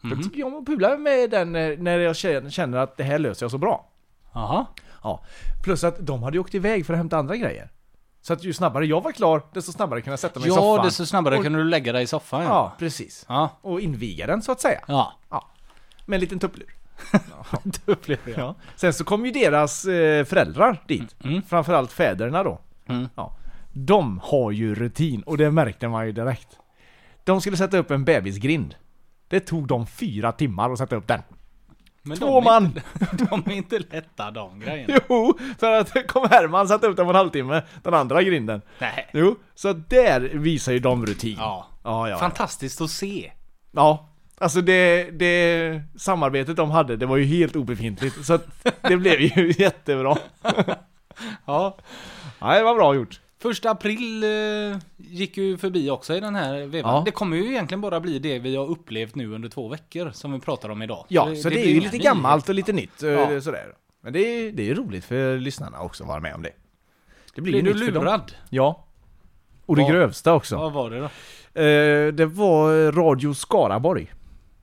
Speaker 4: Mhm.
Speaker 5: Jag tycker om att pula med den eh, när jag känner känner att det här löser jag så bra.
Speaker 4: Jaha.
Speaker 5: Ja. Plus att de hade ju åkt iväg för att hämta andra grejer. Så att ju snabbare jag var klar, desto snabbare kunde jag sätta mig i
Speaker 4: Ja,
Speaker 5: soffan.
Speaker 4: desto snabbare
Speaker 5: Och-
Speaker 4: kunde du lägga dig i soffan.
Speaker 5: Ja, precis.
Speaker 4: Ja.
Speaker 5: Och inviga den så att säga.
Speaker 4: Ja.
Speaker 5: Ja. Med en liten tupplur.
Speaker 4: Det upplever jag.
Speaker 5: Ja. Sen så kom ju deras eh, föräldrar dit. Framförallt fäderna då.
Speaker 4: Mm.
Speaker 5: Ja. De har ju rutin och det märkte man ju direkt. De skulle sätta upp en bebisgrind. Det tog dem fyra timmar att sätta upp den.
Speaker 4: Men de är
Speaker 5: Två
Speaker 4: inte-
Speaker 5: man!
Speaker 4: De är inte lätta de grejerna.
Speaker 5: Jo! För att det kom Herman och satte upp den på en halvtimme, den andra grinden.
Speaker 4: Nej.
Speaker 5: Jo, så där visar ju de rutin.
Speaker 4: Ja.
Speaker 5: Ja, ja, ja.
Speaker 4: Fantastiskt att se.
Speaker 5: ja. Alltså det, det samarbetet de hade, det var ju helt obefintligt. Så att det blev ju jättebra.
Speaker 4: Ja.
Speaker 5: Nej, det var bra gjort.
Speaker 4: Första april eh, gick ju förbi också i den här vevan.
Speaker 5: Ja.
Speaker 4: Det kommer ju egentligen bara bli det vi har upplevt nu under två veckor som vi pratar om idag.
Speaker 5: Ja, så det, är
Speaker 4: blir
Speaker 5: ju
Speaker 4: inga
Speaker 5: lite
Speaker 4: nyheter.
Speaker 5: gammalt och lite nytt. eh,
Speaker 4: Ja.
Speaker 5: Sådär. Men det är, det är roligt för lyssnarna också att vara med om det. Det blir
Speaker 4: Blir
Speaker 5: ju
Speaker 4: du
Speaker 5: nytt för dem.
Speaker 4: lurad?
Speaker 5: Ja. Och det
Speaker 4: Vad-
Speaker 5: grövsta också.
Speaker 4: Vad var det då?
Speaker 5: Eh, det var Radio Skaraborg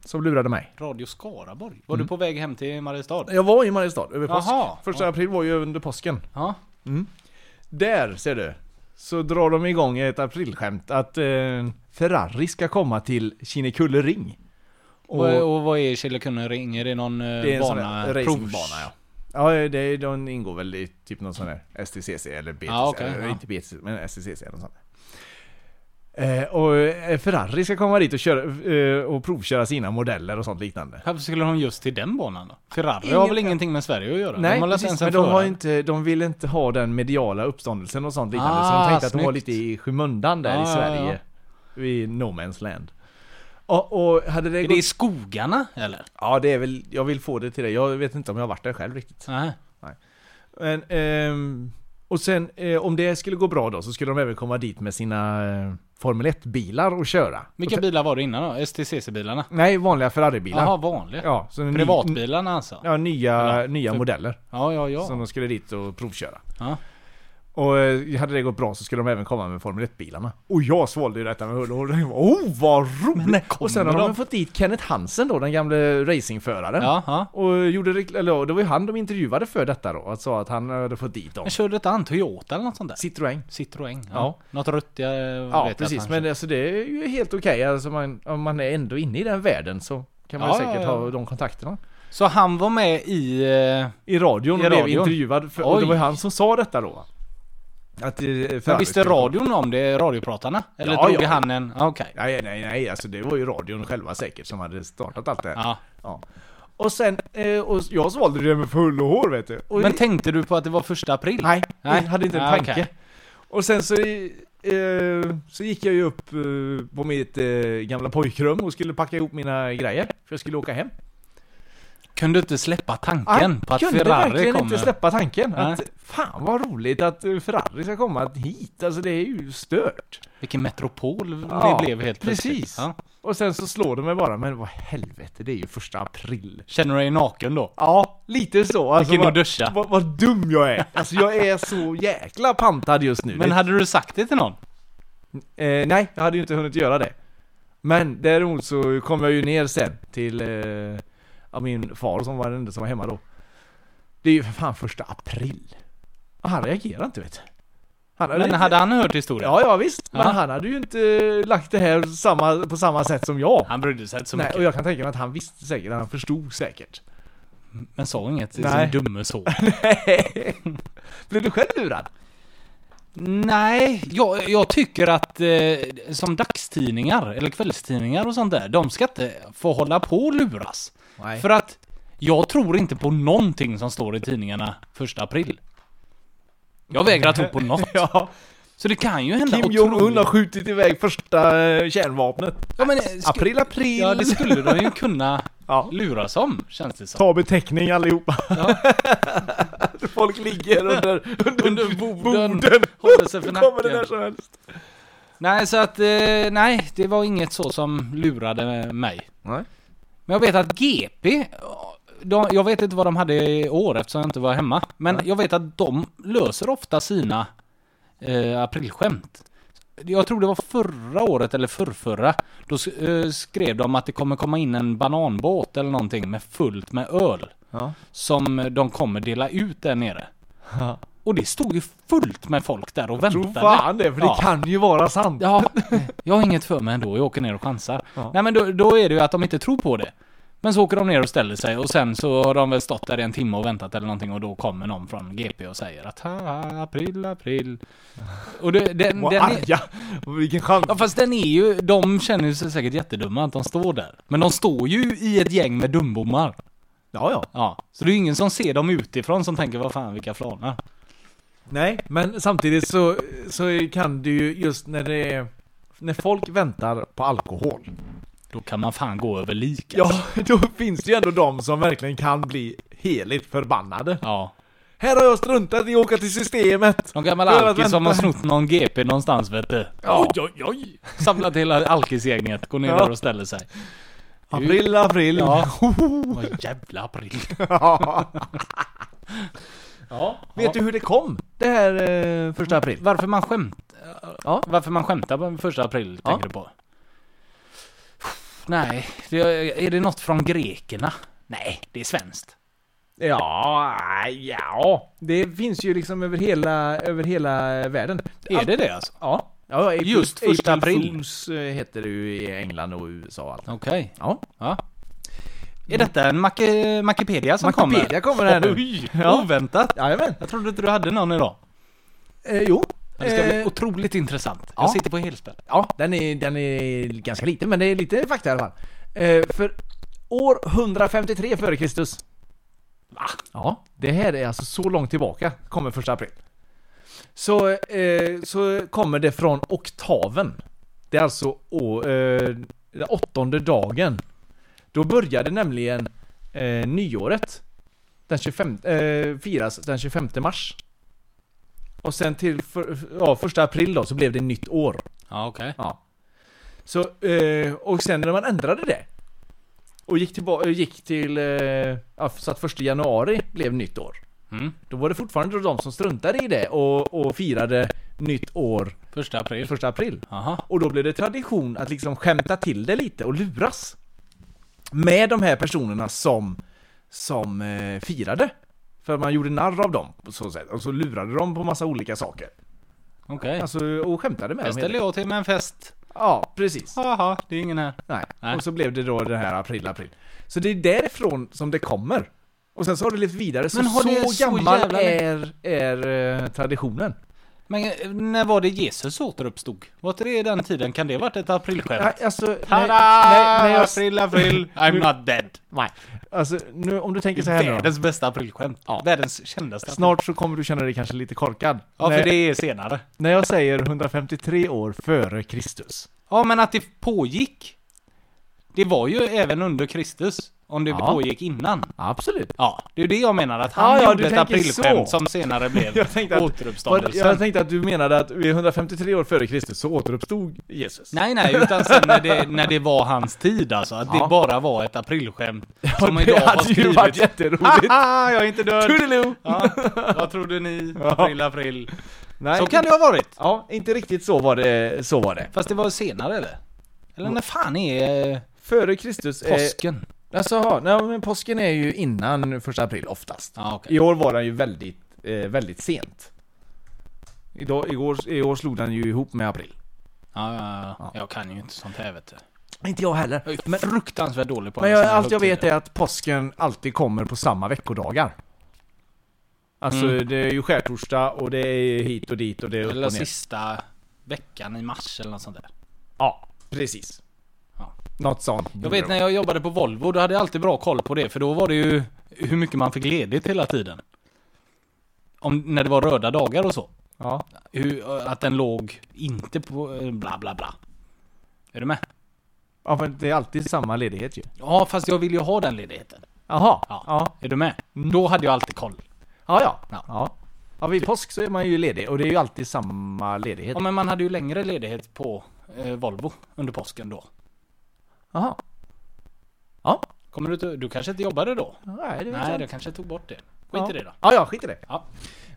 Speaker 5: som lurade mig.
Speaker 4: Radio Skaraborg?
Speaker 5: Mm.
Speaker 4: Var du på väg hem till Mariestad?
Speaker 5: Jag var i Mariestad över påsk.
Speaker 4: Jaha.
Speaker 5: Första april var ju under påsken.
Speaker 4: Ja.
Speaker 5: Där ser du! Så drar de igång ett aprilskämt att eh, Ferrari ska komma till Kinnekulle ring.
Speaker 4: Och, och vad är Killekunde ring? Är det någon eh,
Speaker 5: Det är en sån
Speaker 4: bana?
Speaker 5: här racingbana
Speaker 4: provs-
Speaker 5: ja. Ja, det, är- de ingår väl i typ någon sån här STCC eller BTC,
Speaker 4: Ja, Ah, okej,
Speaker 5: eller
Speaker 4: ja.
Speaker 5: inte BTC, men STCC eller något sånt. Eh, och eh, Ferrari ska komma dit och, köra, eh, och provköra sina modeller och sånt liknande.
Speaker 4: Varför skulle de just till den banan då? Ferrari har
Speaker 5: Ingen-
Speaker 4: väl ingenting med Sverige att göra?
Speaker 5: Nej,
Speaker 4: de
Speaker 5: precis,
Speaker 4: ens en
Speaker 5: men de, har
Speaker 4: förare.
Speaker 5: inte, de vill inte ha den mediala uppståndelsen och sånt liknande. så
Speaker 4: Ah,
Speaker 5: de tänkte att de var
Speaker 4: snyggt.
Speaker 5: lite i skymundan där
Speaker 4: Ja,
Speaker 5: i
Speaker 4: ja,
Speaker 5: Sverige. I No Man's Land. Och, och hade det
Speaker 4: Är
Speaker 5: gått...
Speaker 4: det i skogarna eller?
Speaker 5: Ja, det är väl... Jag vill få det till det. Jag vet inte om jag har varit där själv riktigt.
Speaker 4: Nej.
Speaker 5: Men, ehm, och sen eh, om det skulle gå bra då så skulle de även komma dit med sina eh, Formel 1-bilar och köra.
Speaker 4: Vilka
Speaker 5: och te-
Speaker 4: bilar var det innan då? STCC-bilarna?
Speaker 5: Nej, vanliga Ferrari-bilar.
Speaker 4: Jaha, vanliga.
Speaker 5: Ja, så en ny-
Speaker 4: Privatbilarna alltså?
Speaker 5: Ja, nya, nya
Speaker 4: för-
Speaker 5: modeller
Speaker 4: Ja, Typ. ja,
Speaker 5: som
Speaker 4: ja.
Speaker 5: de skulle dit och provköra.
Speaker 4: ja.
Speaker 5: Och eh, hade det gått bra så skulle de även komma med Formel 1-bilarna. Och jag svalde ju detta med hull och håll. Oh, vad
Speaker 4: när
Speaker 5: roligt! Och sen har
Speaker 4: kommer
Speaker 5: de
Speaker 4: de?
Speaker 5: fått dit Kenneth Hansen då, den gamle racingföraren.
Speaker 4: ja, ja.
Speaker 5: Och gjorde, rekl- eller ja, det var ju han de intervjuade för detta då, och sa att han hade fått dit dem.
Speaker 4: Men körde inte han Toyota eller något sånt där?
Speaker 5: Citroën.
Speaker 4: Citroën? Ja.
Speaker 5: Ja.
Speaker 4: Något rött jag
Speaker 5: Ja,
Speaker 4: vet jag
Speaker 5: precis.
Speaker 4: att han
Speaker 5: Men
Speaker 4: kör.
Speaker 5: alltså, det är ju helt okej. Alltså, man, om man är ändå inne i den världen så kan man
Speaker 4: Ja,
Speaker 5: ju säkert
Speaker 4: ja, ja.
Speaker 5: ha de kontakterna.
Speaker 4: Så han var med i... eh,
Speaker 5: I radion
Speaker 4: I
Speaker 5: blev
Speaker 4: radion.
Speaker 5: intervjuad. För, och
Speaker 4: Oj.
Speaker 5: det var ju han som sa detta då. Att, eh,
Speaker 4: Men visste radion om det, radiopratarna? Eller
Speaker 5: Ja,
Speaker 4: drog
Speaker 5: ja.
Speaker 4: han en... Ah, Okej.
Speaker 5: Nej, nej, nej. Alltså, det var ju radion själva säkert som hade startat allt det här.
Speaker 4: Ja.
Speaker 5: Ja. Och sen, eh, och jag svalde det med full och hår vet du. Och
Speaker 4: Men tänkte du på att det var första april?
Speaker 5: Nej,
Speaker 4: Nej.
Speaker 5: jag hade inte en
Speaker 4: Ah,
Speaker 5: tanke.
Speaker 4: okej.
Speaker 5: Och sen så, eh, så gick jag ju upp eh, på mitt eh, gamla pojkrum och skulle packa ihop mina grejer. För jag skulle åka hem.
Speaker 4: Kunde du inte släppa
Speaker 5: Nej,
Speaker 4: tanken på att
Speaker 5: kunde
Speaker 4: Ferrari
Speaker 5: verkligen
Speaker 4: kommer?
Speaker 5: inte släppa tanken. Att,
Speaker 4: Nej.
Speaker 5: fan vad roligt att eh, Ferrari ska komma hit. Alltså det är ju stört.
Speaker 4: Vilken metropol
Speaker 5: Ja,
Speaker 4: det blev helt
Speaker 5: precis.
Speaker 4: plötsligt. Ja.
Speaker 5: Och sen så slår de mig bara, men vad helvete, det är ju första april.
Speaker 4: Känner du dig naken då?
Speaker 5: Ja, lite så. Alltså,
Speaker 4: Gick in och
Speaker 5: vad-
Speaker 4: duscha.
Speaker 5: Vad, vad dum jag är. Alltså jag är så jäkla pantad just nu.
Speaker 4: Men
Speaker 5: Det-
Speaker 4: hade du sagt det till någon?
Speaker 5: eh, nej, jag hade ju inte hunnit göra det. Men däremot så kom jag ju ner sen till eh, ja, min far som var den enda som var hemma då. Det är ju för fan första april. Och han reagerar inte vet du. Han
Speaker 4: Men hade han hört historien?
Speaker 5: Ja, ja visst. Men
Speaker 4: Ja.
Speaker 5: han hade ju inte lagt det här samma, på samma sätt som jag.
Speaker 4: Han brydde sig inte så
Speaker 5: Nej,
Speaker 4: mycket.
Speaker 5: och jag kan tänka mig att han visste säkert, han förstod säkert.
Speaker 4: Men sa inget till
Speaker 5: Nej.
Speaker 4: sin dumme son.
Speaker 5: Blev du själv lurad?
Speaker 4: Nej, jag, jag tycker att eh, som dagstidningar eller kvällstidningar och sånt där, de ska inte få hålla på och luras.
Speaker 5: Nej.
Speaker 4: För att jag tror inte på någonting som står i tidningarna första april. Jag vägrar tro på något.
Speaker 5: Ja,
Speaker 4: Så det kan ju hända
Speaker 5: Kim Jong-Un har
Speaker 4: otroligt-
Speaker 5: skjutit iväg första eh, kärnvapnet.
Speaker 4: ja, men, eh, sku-
Speaker 5: April, april!
Speaker 4: Ja, det skulle de ju kunna
Speaker 5: Ja.
Speaker 4: luras om, känns det som.
Speaker 5: Ta beteckning allihopa. Folk ligger under, under,
Speaker 4: Under borden. Håller
Speaker 5: Håller
Speaker 4: sig för
Speaker 5: Kommer det
Speaker 4: nacken.
Speaker 5: där som helst.
Speaker 4: Nej, så att, eh, nej, det var inget så som lurade mig.
Speaker 5: Nej.
Speaker 4: Men jag vet att GP, de, jag vet inte vad de hade i år eftersom jag inte var hemma. Men jag vet att de löser ofta sina eh, aprilskämt. Jag tror det var förra året eller förrförra. Då s- eh, skrev de att det kommer komma in en bananbåt eller någonting med fullt med öl.
Speaker 5: Ja.
Speaker 4: Som de kommer dela ut där nere.
Speaker 5: Ja.
Speaker 4: Och det stod ju fullt med folk där och väntade.
Speaker 5: Tro fan det, för det
Speaker 4: Ja.
Speaker 5: kan ju vara sant.
Speaker 4: Ja, jag har inget för mig ändå. Jag åker ner och chansar.
Speaker 5: Ja.
Speaker 4: Nej men då, då är det ju att de inte tror på det. Men så åker de ner och ställer sig och sen så har de väl stått där i en timme och väntat eller någonting och då kommer någon från GP och säger att ha, april, april. Och det, den,
Speaker 5: Vad
Speaker 4: den är,
Speaker 5: arga! Vilken chans.
Speaker 4: ja fast den är ju, de känner ju sig säkert jättedumma att de står där. Men de står ju i ett gäng med dumbommar.
Speaker 5: Ja, ja.
Speaker 4: Ja, så det är ju ingen som ser dem utifrån som tänker vad fan vilka flanar.
Speaker 5: Nej, men samtidigt så, så kan du ju just när det är, när folk väntar på alkohol.
Speaker 4: Då kan man fan gå över lik.
Speaker 5: Ja, då finns det ju ändå de som verkligen kan bli heligt förbannade.
Speaker 4: ja.
Speaker 5: Här har jag struntat i att åka till systemet!
Speaker 4: Någon gammal
Speaker 5: Jag har
Speaker 4: alkis som har
Speaker 5: väntat.
Speaker 4: snott någon GP någonstans vet du.
Speaker 5: Ja.
Speaker 4: Oj, oj, oj. Samlat hela alkisgänget, går ner
Speaker 5: Ja.
Speaker 4: där och ställer sig.
Speaker 5: April, april!
Speaker 4: Ja. Vad jävla april. ja.
Speaker 5: Vet du hur det kom? Det här eh, första april?
Speaker 4: Varför man skämt...
Speaker 5: Ja.
Speaker 4: Varför man skämtar på första april,
Speaker 5: Ja.
Speaker 4: tänker du på? Nej, det, är det något från grekerna? Nej, det är svenskt.
Speaker 5: Ja, ja. Det finns ju liksom över hela, över hela världen.
Speaker 4: Är det det alltså?
Speaker 5: Ja. ja April-
Speaker 4: Just första
Speaker 5: April
Speaker 4: april.
Speaker 5: Fools, eh, heter det ju i England och USA och allt.
Speaker 4: Okej.
Speaker 5: Ja.
Speaker 4: Ja. Är detta en Mac- Macipedia som
Speaker 5: Wikipedia kommer här
Speaker 4: kommer?
Speaker 5: nu.
Speaker 4: Oj,
Speaker 5: Ja.
Speaker 4: oväntat.
Speaker 5: Jajamän.
Speaker 4: Jag trodde inte du hade någon idag.
Speaker 5: Eh, jo.
Speaker 4: Det ska bli
Speaker 5: Eh,
Speaker 4: otroligt intressant.
Speaker 5: ja.
Speaker 4: Jag sitter på helspänn.
Speaker 5: ja, den är, den är ganska liten, men det är lite fakta i alla fall. Eh, för år 153 före Kristus. Va? Ja, det här är alltså så långt tillbaka, kommer första april. Så, eh, så kommer det från oktaven. Det är alltså å, eh, den åttonde dagen. Då började nämligen eh, nyåret. Den 25, eh, firas den 25 mars. Och sen till för, ja, första april då så blev det nytt år.
Speaker 4: Ja, okej.
Speaker 5: Ja. Så, eh, och sen när man ändrade det och gick, tillba- gick till, eh, ja, så att första januari blev nytt år.
Speaker 4: Mm.
Speaker 5: Då var det fortfarande de som struntade i det och, och firade nytt år
Speaker 4: Första april.
Speaker 5: första april.
Speaker 4: Aha.
Speaker 5: Och då blev det tradition att liksom skämta till det lite och luras. Med de här personerna som, som eh, firade. För man gjorde narr av dem på så sätt. Och så lurade de på massa olika saker.
Speaker 4: Okej.
Speaker 5: Alltså, och skämtade med
Speaker 4: Här
Speaker 5: dem. helt
Speaker 4: ställer jag till med en fest.
Speaker 5: enkelt. Ja, precis.
Speaker 4: Haha, det är ingen här.
Speaker 5: Nej.
Speaker 4: Nej.
Speaker 5: Och så blev det då den här april, april. Så det är därifrån som det kommer. Och sen så har det levt vidare. Så,
Speaker 4: Men har det
Speaker 5: så,
Speaker 4: så
Speaker 5: gammal
Speaker 4: jävla
Speaker 5: är, är eh, traditionen.
Speaker 4: Men eh, när var det Jesus återuppstod? Var inte det i den tiden? Kan det varit ett aprilskämt?
Speaker 5: Nej, alltså, nej,
Speaker 4: Tada!
Speaker 5: nej, nej, jag,
Speaker 4: April, april. I'm not dead.
Speaker 5: nej. Alltså, nu, om du tänker så här nu då.
Speaker 4: Världens bästa aprilskämt. Världens kändaste.
Speaker 5: Snart så kommer du känna dig kanske lite korkad.
Speaker 4: Ja,
Speaker 5: när,
Speaker 4: för det är senare.
Speaker 5: när jag säger 153 år före Kristus.
Speaker 4: Ja, men att det pågick. Det var ju även under Kristus. Om det
Speaker 5: Ja.
Speaker 4: pågick innan.
Speaker 5: Absolut.
Speaker 4: Ja, det är det jag menar. Att han
Speaker 5: Ja, ja, du
Speaker 4: gjorde ett
Speaker 5: tänker
Speaker 4: aprilskämt
Speaker 5: så.
Speaker 4: som senare blev
Speaker 5: Jag tänkte, att, vad-
Speaker 4: återuppståndelsen.
Speaker 5: jag tänkte att du menade att vid 153 år före Kristus så återuppstod Jesus.
Speaker 4: Nej, nej, utan sen när det, när det var hans tid alltså. Att
Speaker 5: Ja.
Speaker 4: det bara var ett aprilskämt som
Speaker 5: det
Speaker 4: idag har
Speaker 5: hade ju varit
Speaker 4: skrivits.
Speaker 5: jätteroligt.
Speaker 4: Haha, jag är inte död!
Speaker 5: Toodaloo!
Speaker 4: Ja, vad trodde ni? April, april.
Speaker 5: Nej,
Speaker 4: Så kan det ha varit.
Speaker 5: Ja, inte riktigt så var det, så var det.
Speaker 4: Fast det var senare eller? Eller när fan är eh,
Speaker 5: Före Kristus är...
Speaker 4: påsken?
Speaker 5: Alltså, ja, nej, men påsken är ju innan första april oftast.
Speaker 4: Ja, okej.
Speaker 5: I år var den ju väldigt, eh, väldigt sent. Idag, igår, I år slog den ju ihop med april.
Speaker 4: Ja, ja, ja. Jag kan ju inte sånt här vet du.
Speaker 5: Inte jag heller.
Speaker 4: Jag är ju fruktansvärt dålig på
Speaker 5: Men
Speaker 4: alla
Speaker 5: jag,
Speaker 4: såna här
Speaker 5: allt jag vet
Speaker 4: högtider.
Speaker 5: är att påsken alltid kommer på samma veckodagar. Alltså det är ju skärtorsdag och det är hit och dit och det är upp och
Speaker 4: Eller
Speaker 5: ner.
Speaker 4: sista veckan i mars eller något sånt där.
Speaker 5: Ja, precis.
Speaker 4: Ja.
Speaker 5: Något sånt.
Speaker 4: Jag vet när jag jobbade på Volvo, då hade jag alltid bra koll på det. För då var det ju hur mycket man fick ledigt hela tiden. Om, när det var röda dagar och så.
Speaker 5: Ja.
Speaker 4: Hur, att den låg inte på eh, bla bla bla. Är du med?
Speaker 5: ja, för det är alltid samma ledighet ju.
Speaker 4: Ja, fast jag vill ju ha den ledigheten.
Speaker 5: Jaha.
Speaker 4: Ja.
Speaker 5: Ja.
Speaker 4: Är du med? Då hade jag alltid koll.
Speaker 5: Ja, ja.
Speaker 4: Ja.
Speaker 5: ja. ja vid påsk så är man ju ledig och det är ju alltid samma ledighet.
Speaker 4: Ja, men man hade ju längre ledighet på eh, Volvo under påsken då.
Speaker 5: Jaha. Ja.
Speaker 4: Kommer du inte... Du kanske inte jobbade då?
Speaker 5: Nej, det vet
Speaker 4: Nej,
Speaker 5: jag
Speaker 4: du
Speaker 5: inte.
Speaker 4: kanske tog bort det. Skit
Speaker 5: ja.
Speaker 4: i det då.
Speaker 5: Ja, ja, skit i det.
Speaker 4: Ja.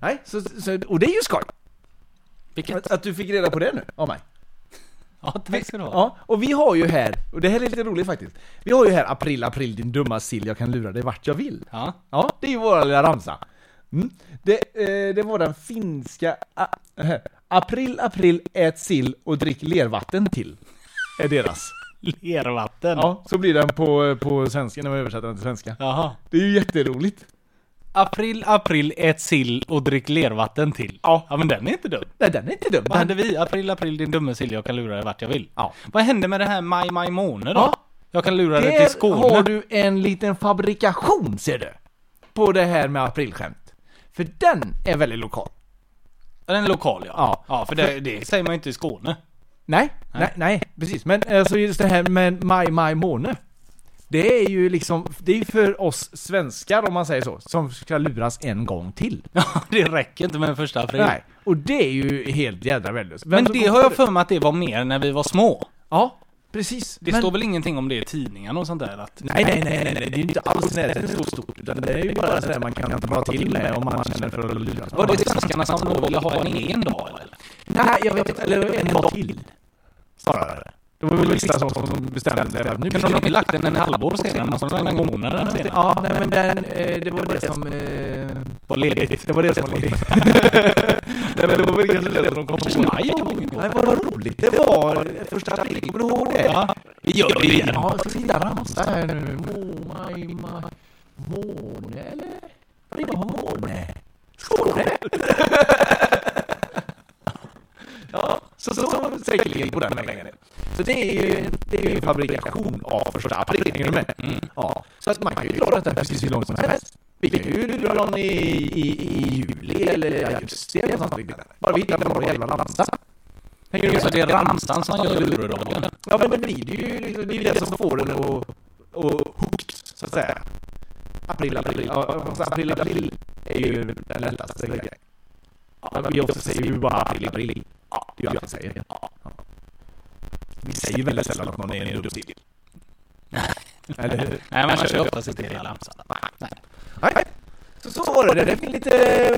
Speaker 5: Nej, så, så, och det är ju skoj.
Speaker 4: Vilket...
Speaker 5: Att, att du fick reda på det nu av mig.
Speaker 4: Ja, tack ska du ha.
Speaker 5: Ja, och vi har ju här, och det här är lite roligt faktiskt. Vi har ju här april, april din dumma sill, jag kan lura dig vart jag vill.
Speaker 4: Ja.
Speaker 5: Ja, det är ju vår lilla ramsa. Mm. Det, eh, det var den finska... A, eh, april, april, ät sill och drick lervatten till. Är deras.
Speaker 4: Lervatten.
Speaker 5: Ja, så blir den på, på svenska när man översätter den till svenska.
Speaker 4: Jaha.
Speaker 5: Det är ju jätteroligt.
Speaker 4: April, april, ät sill och drick lervatten till. Ja. men den är inte dum.
Speaker 5: Nej, den är inte dum. Den,
Speaker 4: Vad hände vi? April, april, din dumme sill, jag kan lura dig vart jag vill.
Speaker 5: Ja.
Speaker 4: Vad hände med det här maj, maj måne då?
Speaker 5: Ja.
Speaker 4: Jag kan lura dig
Speaker 5: där
Speaker 4: till Skåne.
Speaker 5: har du en liten fabrikation ser du. På det här med aprilskämt. För den är väldigt lokal.
Speaker 4: Ja, Den är lokal ja.
Speaker 5: Ja.
Speaker 4: för det, det säger man ju inte i Skåne.
Speaker 5: Nej, nej, nej, precis. Men alltså just det här med maj, maj måne. Det är ju liksom, det är ju för oss svenskar om man säger så, som ska luras en gång till.
Speaker 4: Ja, det räcker inte med den första april.
Speaker 5: Nej, och det är ju helt jädra värdelöst. Vem
Speaker 4: Men
Speaker 5: som
Speaker 4: det
Speaker 5: kom
Speaker 4: har
Speaker 5: på
Speaker 4: jag för mig att det var mer när vi var små.
Speaker 5: Ja, precis.
Speaker 4: Det
Speaker 5: Men-
Speaker 4: står väl ingenting om det i tidningen och sånt där? Att,
Speaker 5: Nej, nej, nej, nej, nej, det är ju inte alls närheten så stort. Utan det är ju bara sådär man kan dra till med om man känner för att luras.
Speaker 4: var det svenskarna som då ville ha en egen dag eller?
Speaker 5: Nej, jag vet inte. Eller en dag till. Snarare. Det var väl vissa som, som som bestämde sig. Nu
Speaker 4: Kunde de inte lagt den en halvår senare? Man skulle en månad senare.
Speaker 5: Ja, nej, men den, eh, det var det som... Eh,
Speaker 4: Var ledigt.
Speaker 5: det var det som var lite... nej, men det var väl kanske det som de kom
Speaker 4: Första
Speaker 5: på.
Speaker 4: maj var ingen gång.
Speaker 5: Nej, vad roligt det var! Första april, kommer du ihåg det?
Speaker 4: Ja, vi gör det igen.
Speaker 5: Ja, jag ska sitta och ramsa här nu. Må, maj, maj, måne, eller? Vad är det på måne? Skåne! ja, så, så, så säkerligen på den vägen. Så det är ju, det är ju en fabrikation av första april, är du med? Ja, så att man kan ju dra detta precis hur långt som helst. Vi kan ju dra den i, i, i juli eller augusti eller något sånt. Bara vi hittar på någon jävla ramsa. Hänger du med?
Speaker 4: Så det är ramsan som gör luradagen.
Speaker 5: Ja men det blir det ju, liksom, det är ju det som får den att, att hooked, så att säga. April, april, ja, fast april, april är ju den lättaste grejen. Ja, men vi också säger ju bara april, april. Ja, det är ju jag säger. Ja. Vi säger ju väldigt sällan att någon är en dubbstil. Eller hur?
Speaker 4: Nej, man kör ju oftast inte hela ramsan. Nej.
Speaker 5: Nej, nej. Så, så var det. Det finns lite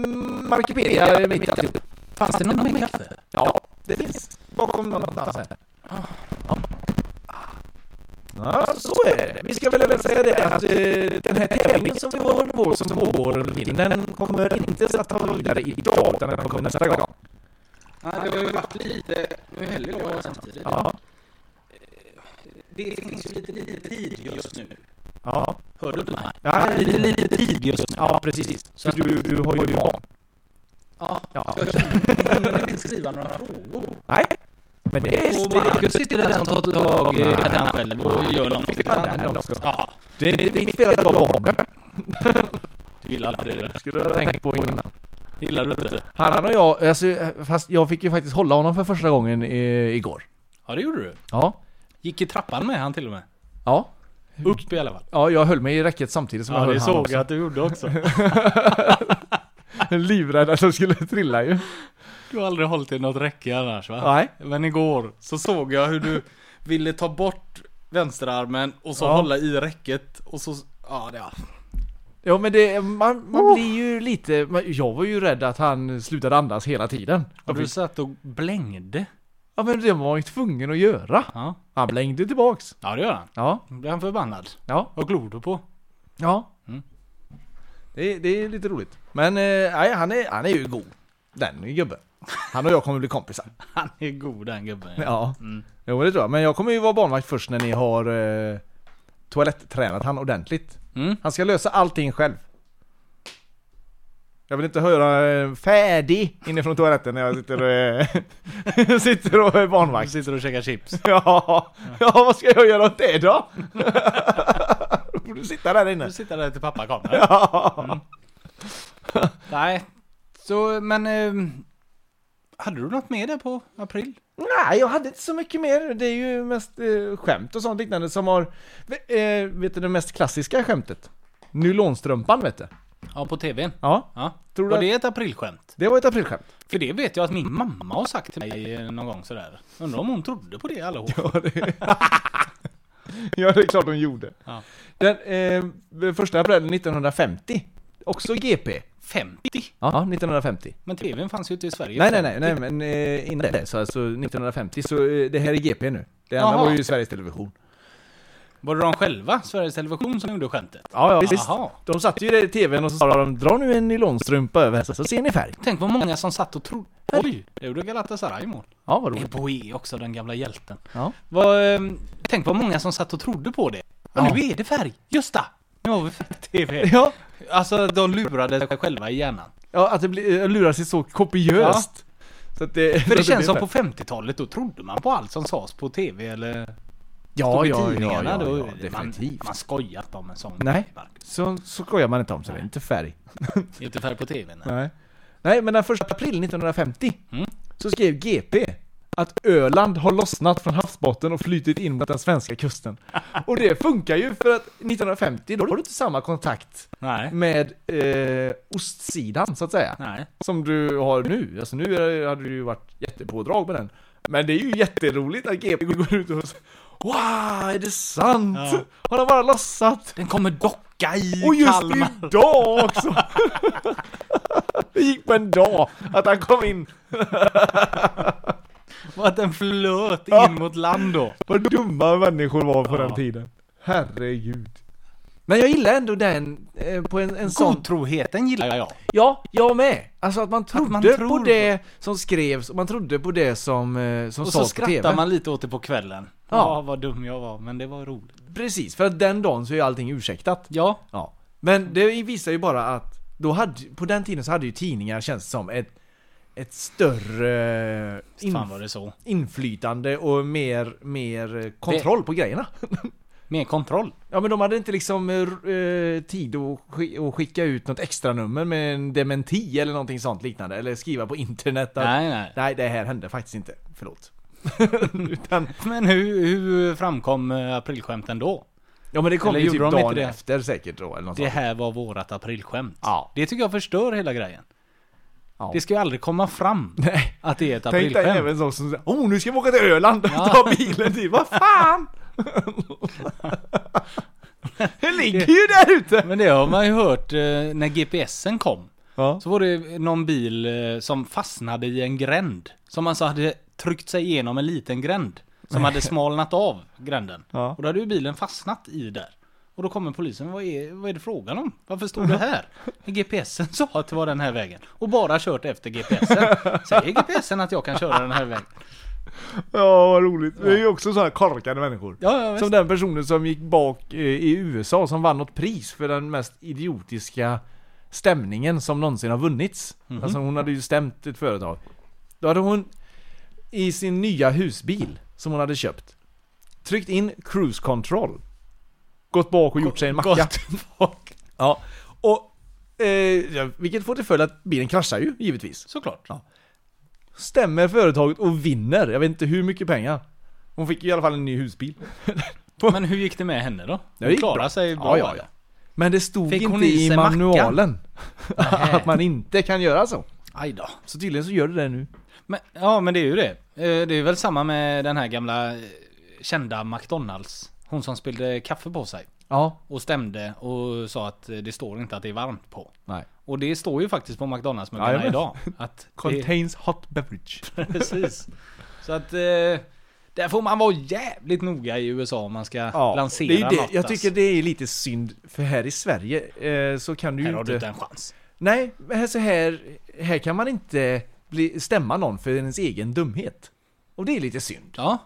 Speaker 5: Markipedia mitt i alltihop.
Speaker 4: Fanns det någon med kaffe?
Speaker 5: Ja, det finns. Bakom någonstans här. Ah. Ja, så är det. Vi ska väl även säga det att eh, den här tävlingen som vi håller på som pågår under tiden, den kommer inte att ta vidare idag, utan den kommer nästa gång.
Speaker 4: Nej, det har ju varit lite... Nu häller jag samtidigt. Eh,
Speaker 5: Ja,
Speaker 4: Det finns ju lite lite tid just nu.
Speaker 5: ja,
Speaker 4: Hör du mig?
Speaker 5: Ja,
Speaker 4: det är lite lite tid just nu.
Speaker 5: ja precis. Så du, du har ju barn.
Speaker 4: Ja.
Speaker 5: Ja.
Speaker 4: Jag vill skriva några frågor.
Speaker 5: Nej, men det är...
Speaker 4: Och Marcus sitter där som tar tag i den själv och gör någonting. Ja,
Speaker 5: Det är ditt fel att det var barn.
Speaker 4: du gillar aldrig det.
Speaker 5: Skulle du ha tänkt på innan.
Speaker 4: Gillar du inte det?
Speaker 5: Han och jag, alltså, fast jag fick ju faktiskt hålla honom för första gången eh, igår.
Speaker 4: Ja, det gjorde du.
Speaker 5: Ja,
Speaker 4: Gick i trappan med han till och med.
Speaker 5: ja.
Speaker 4: Upp i alla fall.
Speaker 5: Ja, jag höll mig i räcket samtidigt som jag höll han också.
Speaker 4: att du gjorde också.
Speaker 5: Livrädd att jag skulle trilla ju.
Speaker 4: Du har aldrig hållit i något räcke annars va?
Speaker 5: Nej.
Speaker 4: Men igår så såg jag hur du ville ta bort vänsterarmen och så
Speaker 5: Ja.
Speaker 4: hålla i räcket och så... Ja, det ja.
Speaker 5: Ja men det, man, man blir ju lite, man, jag var ju rädd att han slutade andas hela tiden.
Speaker 4: Och du satt och blängde.
Speaker 5: Ja men det var man ju tvungen att göra.
Speaker 4: Ja.
Speaker 5: Han blängde tillbaks.
Speaker 4: Ja, det gör han.
Speaker 5: Ja,
Speaker 4: Då blir han förbannad.
Speaker 5: ja,
Speaker 4: Vad glor du på?
Speaker 5: ja.
Speaker 4: Mm.
Speaker 5: Det, det är lite roligt. Men eh, nej, han, är, han är ju god. Den gubben. Han och jag kommer bli kompisar.
Speaker 4: Han är god den gubben. Ja.
Speaker 5: Ja.
Speaker 4: Mm.
Speaker 5: Jo men det tror jag. Men jag kommer ju vara barnvakt först när ni har eh, toalettränat han ordentligt.
Speaker 4: Mm.
Speaker 5: Han ska lösa allting själv. Jag vill inte höra eh, 'färdig' inifrån toaletten när jag sitter och, eh, sitter och är
Speaker 4: Han
Speaker 5: barnvakt.
Speaker 4: sitter och käkar chips.
Speaker 5: Ja, ja, vad ska jag göra åt det då? Då får du sitta där inne.
Speaker 4: Nu sitter där till pappa kommer.
Speaker 5: Ja.
Speaker 4: Nej. Så, men... Eh, hade du något med det på april?
Speaker 5: Nej, jag hade inte så mycket mer. Det är ju mest eh, skämt och sånt liknande som har... Eh, vet du det mest klassiska skämtet? Nylonstrumpan vet du.
Speaker 4: Ja, på tvn.
Speaker 5: Ja,
Speaker 4: Ja.
Speaker 5: Tror du
Speaker 4: Var
Speaker 5: att-
Speaker 4: det ett aprilskämt?
Speaker 5: det var ett aprilskämt.
Speaker 4: För det vet jag att min mamma har sagt till mig eh, någon gång sådär. Undrar om hon trodde på det allihop.
Speaker 5: Ja, det, ja, det är klart de gjorde.
Speaker 4: Ja.
Speaker 5: Den eh, första april 1950. Också GP.
Speaker 4: 50?
Speaker 5: Ja, 1950.
Speaker 4: Men tvn fanns ju inte i Sverige.
Speaker 5: Nej, nej, nej, nej men eh, innan det så alltså 1950 så eh, det här är GP nu. Det andra
Speaker 4: Jaha.
Speaker 5: var ju Sveriges Television.
Speaker 4: Var det de själva, Sveriges Television, som gjorde skämtet?
Speaker 5: Ja, ja
Speaker 4: visst.
Speaker 5: visst. De satte ju det i tvn och så sa de dra nu en nylonstrumpa över här så ser ni färg.
Speaker 4: Tänk vad många som satt och trodde. Oj! Det gjorde Galatasaray i mål.
Speaker 5: Ja, vad roligt.
Speaker 4: Eboe också, den gamla hjälten.
Speaker 5: Ja.
Speaker 4: Vad, ehm, tänk vad många som satt och trodde på det. Ja. Nu är det färg! Just det! Nu har vi färg-tv.
Speaker 5: Ja,
Speaker 4: Alltså, de lurade sig själva i hjärnan.
Speaker 5: ja att det blir, jag lurar sig så kopiöst. Så att det,
Speaker 4: För det känns som på 50-talet, då trodde man på allt som sades på tv eller
Speaker 5: ja,
Speaker 4: i
Speaker 5: ja, ja,
Speaker 4: tidningarna.
Speaker 5: ja,
Speaker 4: då,
Speaker 5: ja,
Speaker 4: man,
Speaker 5: definitivt.
Speaker 4: man skojar inte om en sån.
Speaker 5: Nej.
Speaker 4: bark.
Speaker 5: Så, så skojar man inte om, så det är inte färg.
Speaker 4: Inte färg på tv. Nej.
Speaker 5: Nej. Nej, men den första april 1950
Speaker 4: Mm.
Speaker 5: så skrev GP att Öland har lossnat från havsbotten och flytit in mot den svenska kusten. Och det funkar ju för att 1950, då har du inte samma kontakt
Speaker 4: Nej.
Speaker 5: med eh, ostsidan så att säga.
Speaker 4: Nej.
Speaker 5: Som du har nu. Alltså nu är det- hade du ju varit jättepådrag med den. Men det är ju jätteroligt att GP går ut och säger Wow, är det sant?
Speaker 4: Ja.
Speaker 5: Har de bara lossat?
Speaker 4: Den kommer docka i
Speaker 5: Och just
Speaker 4: Kalmar.
Speaker 5: idag också! det gick på en dag att han kom in.
Speaker 4: Och att den flöt in
Speaker 5: Ja.
Speaker 4: mot land då.
Speaker 5: Vad dumma människor var på
Speaker 4: Ja.
Speaker 5: den tiden. Herregud. Men jag gillar ändå den eh, på en, en sån...
Speaker 4: Godtroheten gillar jag.
Speaker 5: Ja, jag med! Alltså att man trodde
Speaker 4: man
Speaker 5: på
Speaker 4: tror på-
Speaker 5: det som skrevs och man trodde på det som, eh, som
Speaker 4: Och så
Speaker 5: sades på TV.
Speaker 4: skrattar man lite åt det på kvällen.
Speaker 5: Ja.
Speaker 4: Ja. vad dum jag var, men det var roligt.
Speaker 5: Precis, för att den dagen så är ju allting ursäktat.
Speaker 4: Ja.
Speaker 5: Ja. Men det visar ju bara att då hade, på den tiden så hade ju tidningar känts som ett, ett större in,
Speaker 4: Fan var det så.
Speaker 5: inflytande och mer, mer kontroll på grejerna.
Speaker 4: Mer kontroll.
Speaker 5: Ja men de hade inte liksom eh, r- eh, tid att sk- att skicka ut något extra nummer med en dementi eller någonting sånt liknande. Eller skriva på internet att,
Speaker 4: Nej, nej.
Speaker 5: nej det här hände faktiskt inte. Förlåt. Utan,
Speaker 4: Men hur, hur framkom eh, aprilskämten då?
Speaker 5: ja men det kom
Speaker 4: Eller
Speaker 5: ju
Speaker 4: gjorde
Speaker 5: typ
Speaker 4: de inte
Speaker 5: dagen
Speaker 4: det?
Speaker 5: efter säkert då eller något
Speaker 4: Det
Speaker 5: sånt.
Speaker 4: här var vårat aprilskämt.
Speaker 5: Ja.
Speaker 4: Det tycker jag förstör hela grejen.
Speaker 5: Ja.
Speaker 4: Det ska ju aldrig komma fram
Speaker 5: Nej.
Speaker 4: att det är ett
Speaker 5: Tänk dig
Speaker 4: aprilskämt.
Speaker 5: även sån som säger oh nu ska vi åka till Öland och
Speaker 4: Ja.
Speaker 5: ta bilen dit, vad fan! det ligger ju där ute!
Speaker 4: Men det har man ju hört eh, när GPSen kom.
Speaker 5: Ja.
Speaker 4: Så var det någon bil eh, som fastnade i en gränd. Som alltså hade tryckt sig igenom en liten gränd. Som hade smalnat av gränden.
Speaker 5: Ja.
Speaker 4: Och då hade ju bilen fastnat i där. Och då kommer polisen, vad är, vad är det frågan om? Varför stod det här? Men GPSen sa att det var den här vägen. Och bara kört efter GPSen. Säger GPSen att jag kan köra den här vägen?
Speaker 5: ja, vad roligt. Det är ju också sådana korkade människor.
Speaker 4: Ja, ja visst.
Speaker 5: Som den personen som gick bak eh, i USA som vann något pris för den mest idiotiska stämningen som någonsin har vunnits.
Speaker 4: Mhm.
Speaker 5: Alltså hon hade ju stämt ett företag. Då hade hon i sin nya husbil som hon hade köpt tryckt in cruise control. Gått bak och gjort sig en macka.
Speaker 4: Gått bak.
Speaker 5: Ja. Och, eh, ja, vilket får till följd att bilen kraschar ju givetvis.
Speaker 4: Såklart. Ja.
Speaker 5: Stämmer företaget och vinner. Jag vet inte hur mycket pengar. Hon fick ju i alla fall en ny husbil.
Speaker 4: Men hur gick det med henne då?
Speaker 5: Det gick
Speaker 4: Hon klarade
Speaker 5: bra.
Speaker 4: sig bra
Speaker 5: Ja, ja, ja.
Speaker 4: eller?
Speaker 5: Men det stod
Speaker 4: Fick hon
Speaker 5: inte
Speaker 4: i
Speaker 5: i
Speaker 4: sig mackan?
Speaker 5: manualen att
Speaker 4: Nej.
Speaker 5: man inte kan göra så.
Speaker 4: Aj då.
Speaker 5: Så tydligen så gör du det nu.
Speaker 4: Men, ja, men det är ju det. Eh, Det är väl samma med den här gamla eh, kända McDonalds. Hon som spillde kaffe på sig
Speaker 5: Ja.
Speaker 4: och stämde och sa att eh, det står inte att det är varmt på.
Speaker 5: Nej.
Speaker 4: Och det står ju faktiskt på McDonalds-muggarna
Speaker 5: Jajamän.
Speaker 4: idag. Att det,
Speaker 5: Contains hot beverage.
Speaker 4: precis. Så att eh, Där får man vara jävligt noga i USA om man ska lansera
Speaker 5: det är ju det.
Speaker 4: något.
Speaker 5: Jag
Speaker 4: alltså.
Speaker 5: tycker det är lite synd, för här i Sverige eh, så kan du ju
Speaker 4: Här har
Speaker 5: inte...
Speaker 4: du inte en chans.
Speaker 5: Nej, men här, så här, här kan man inte bli, stämma någon för ens egen dumhet. Och det är lite synd.
Speaker 4: Ja,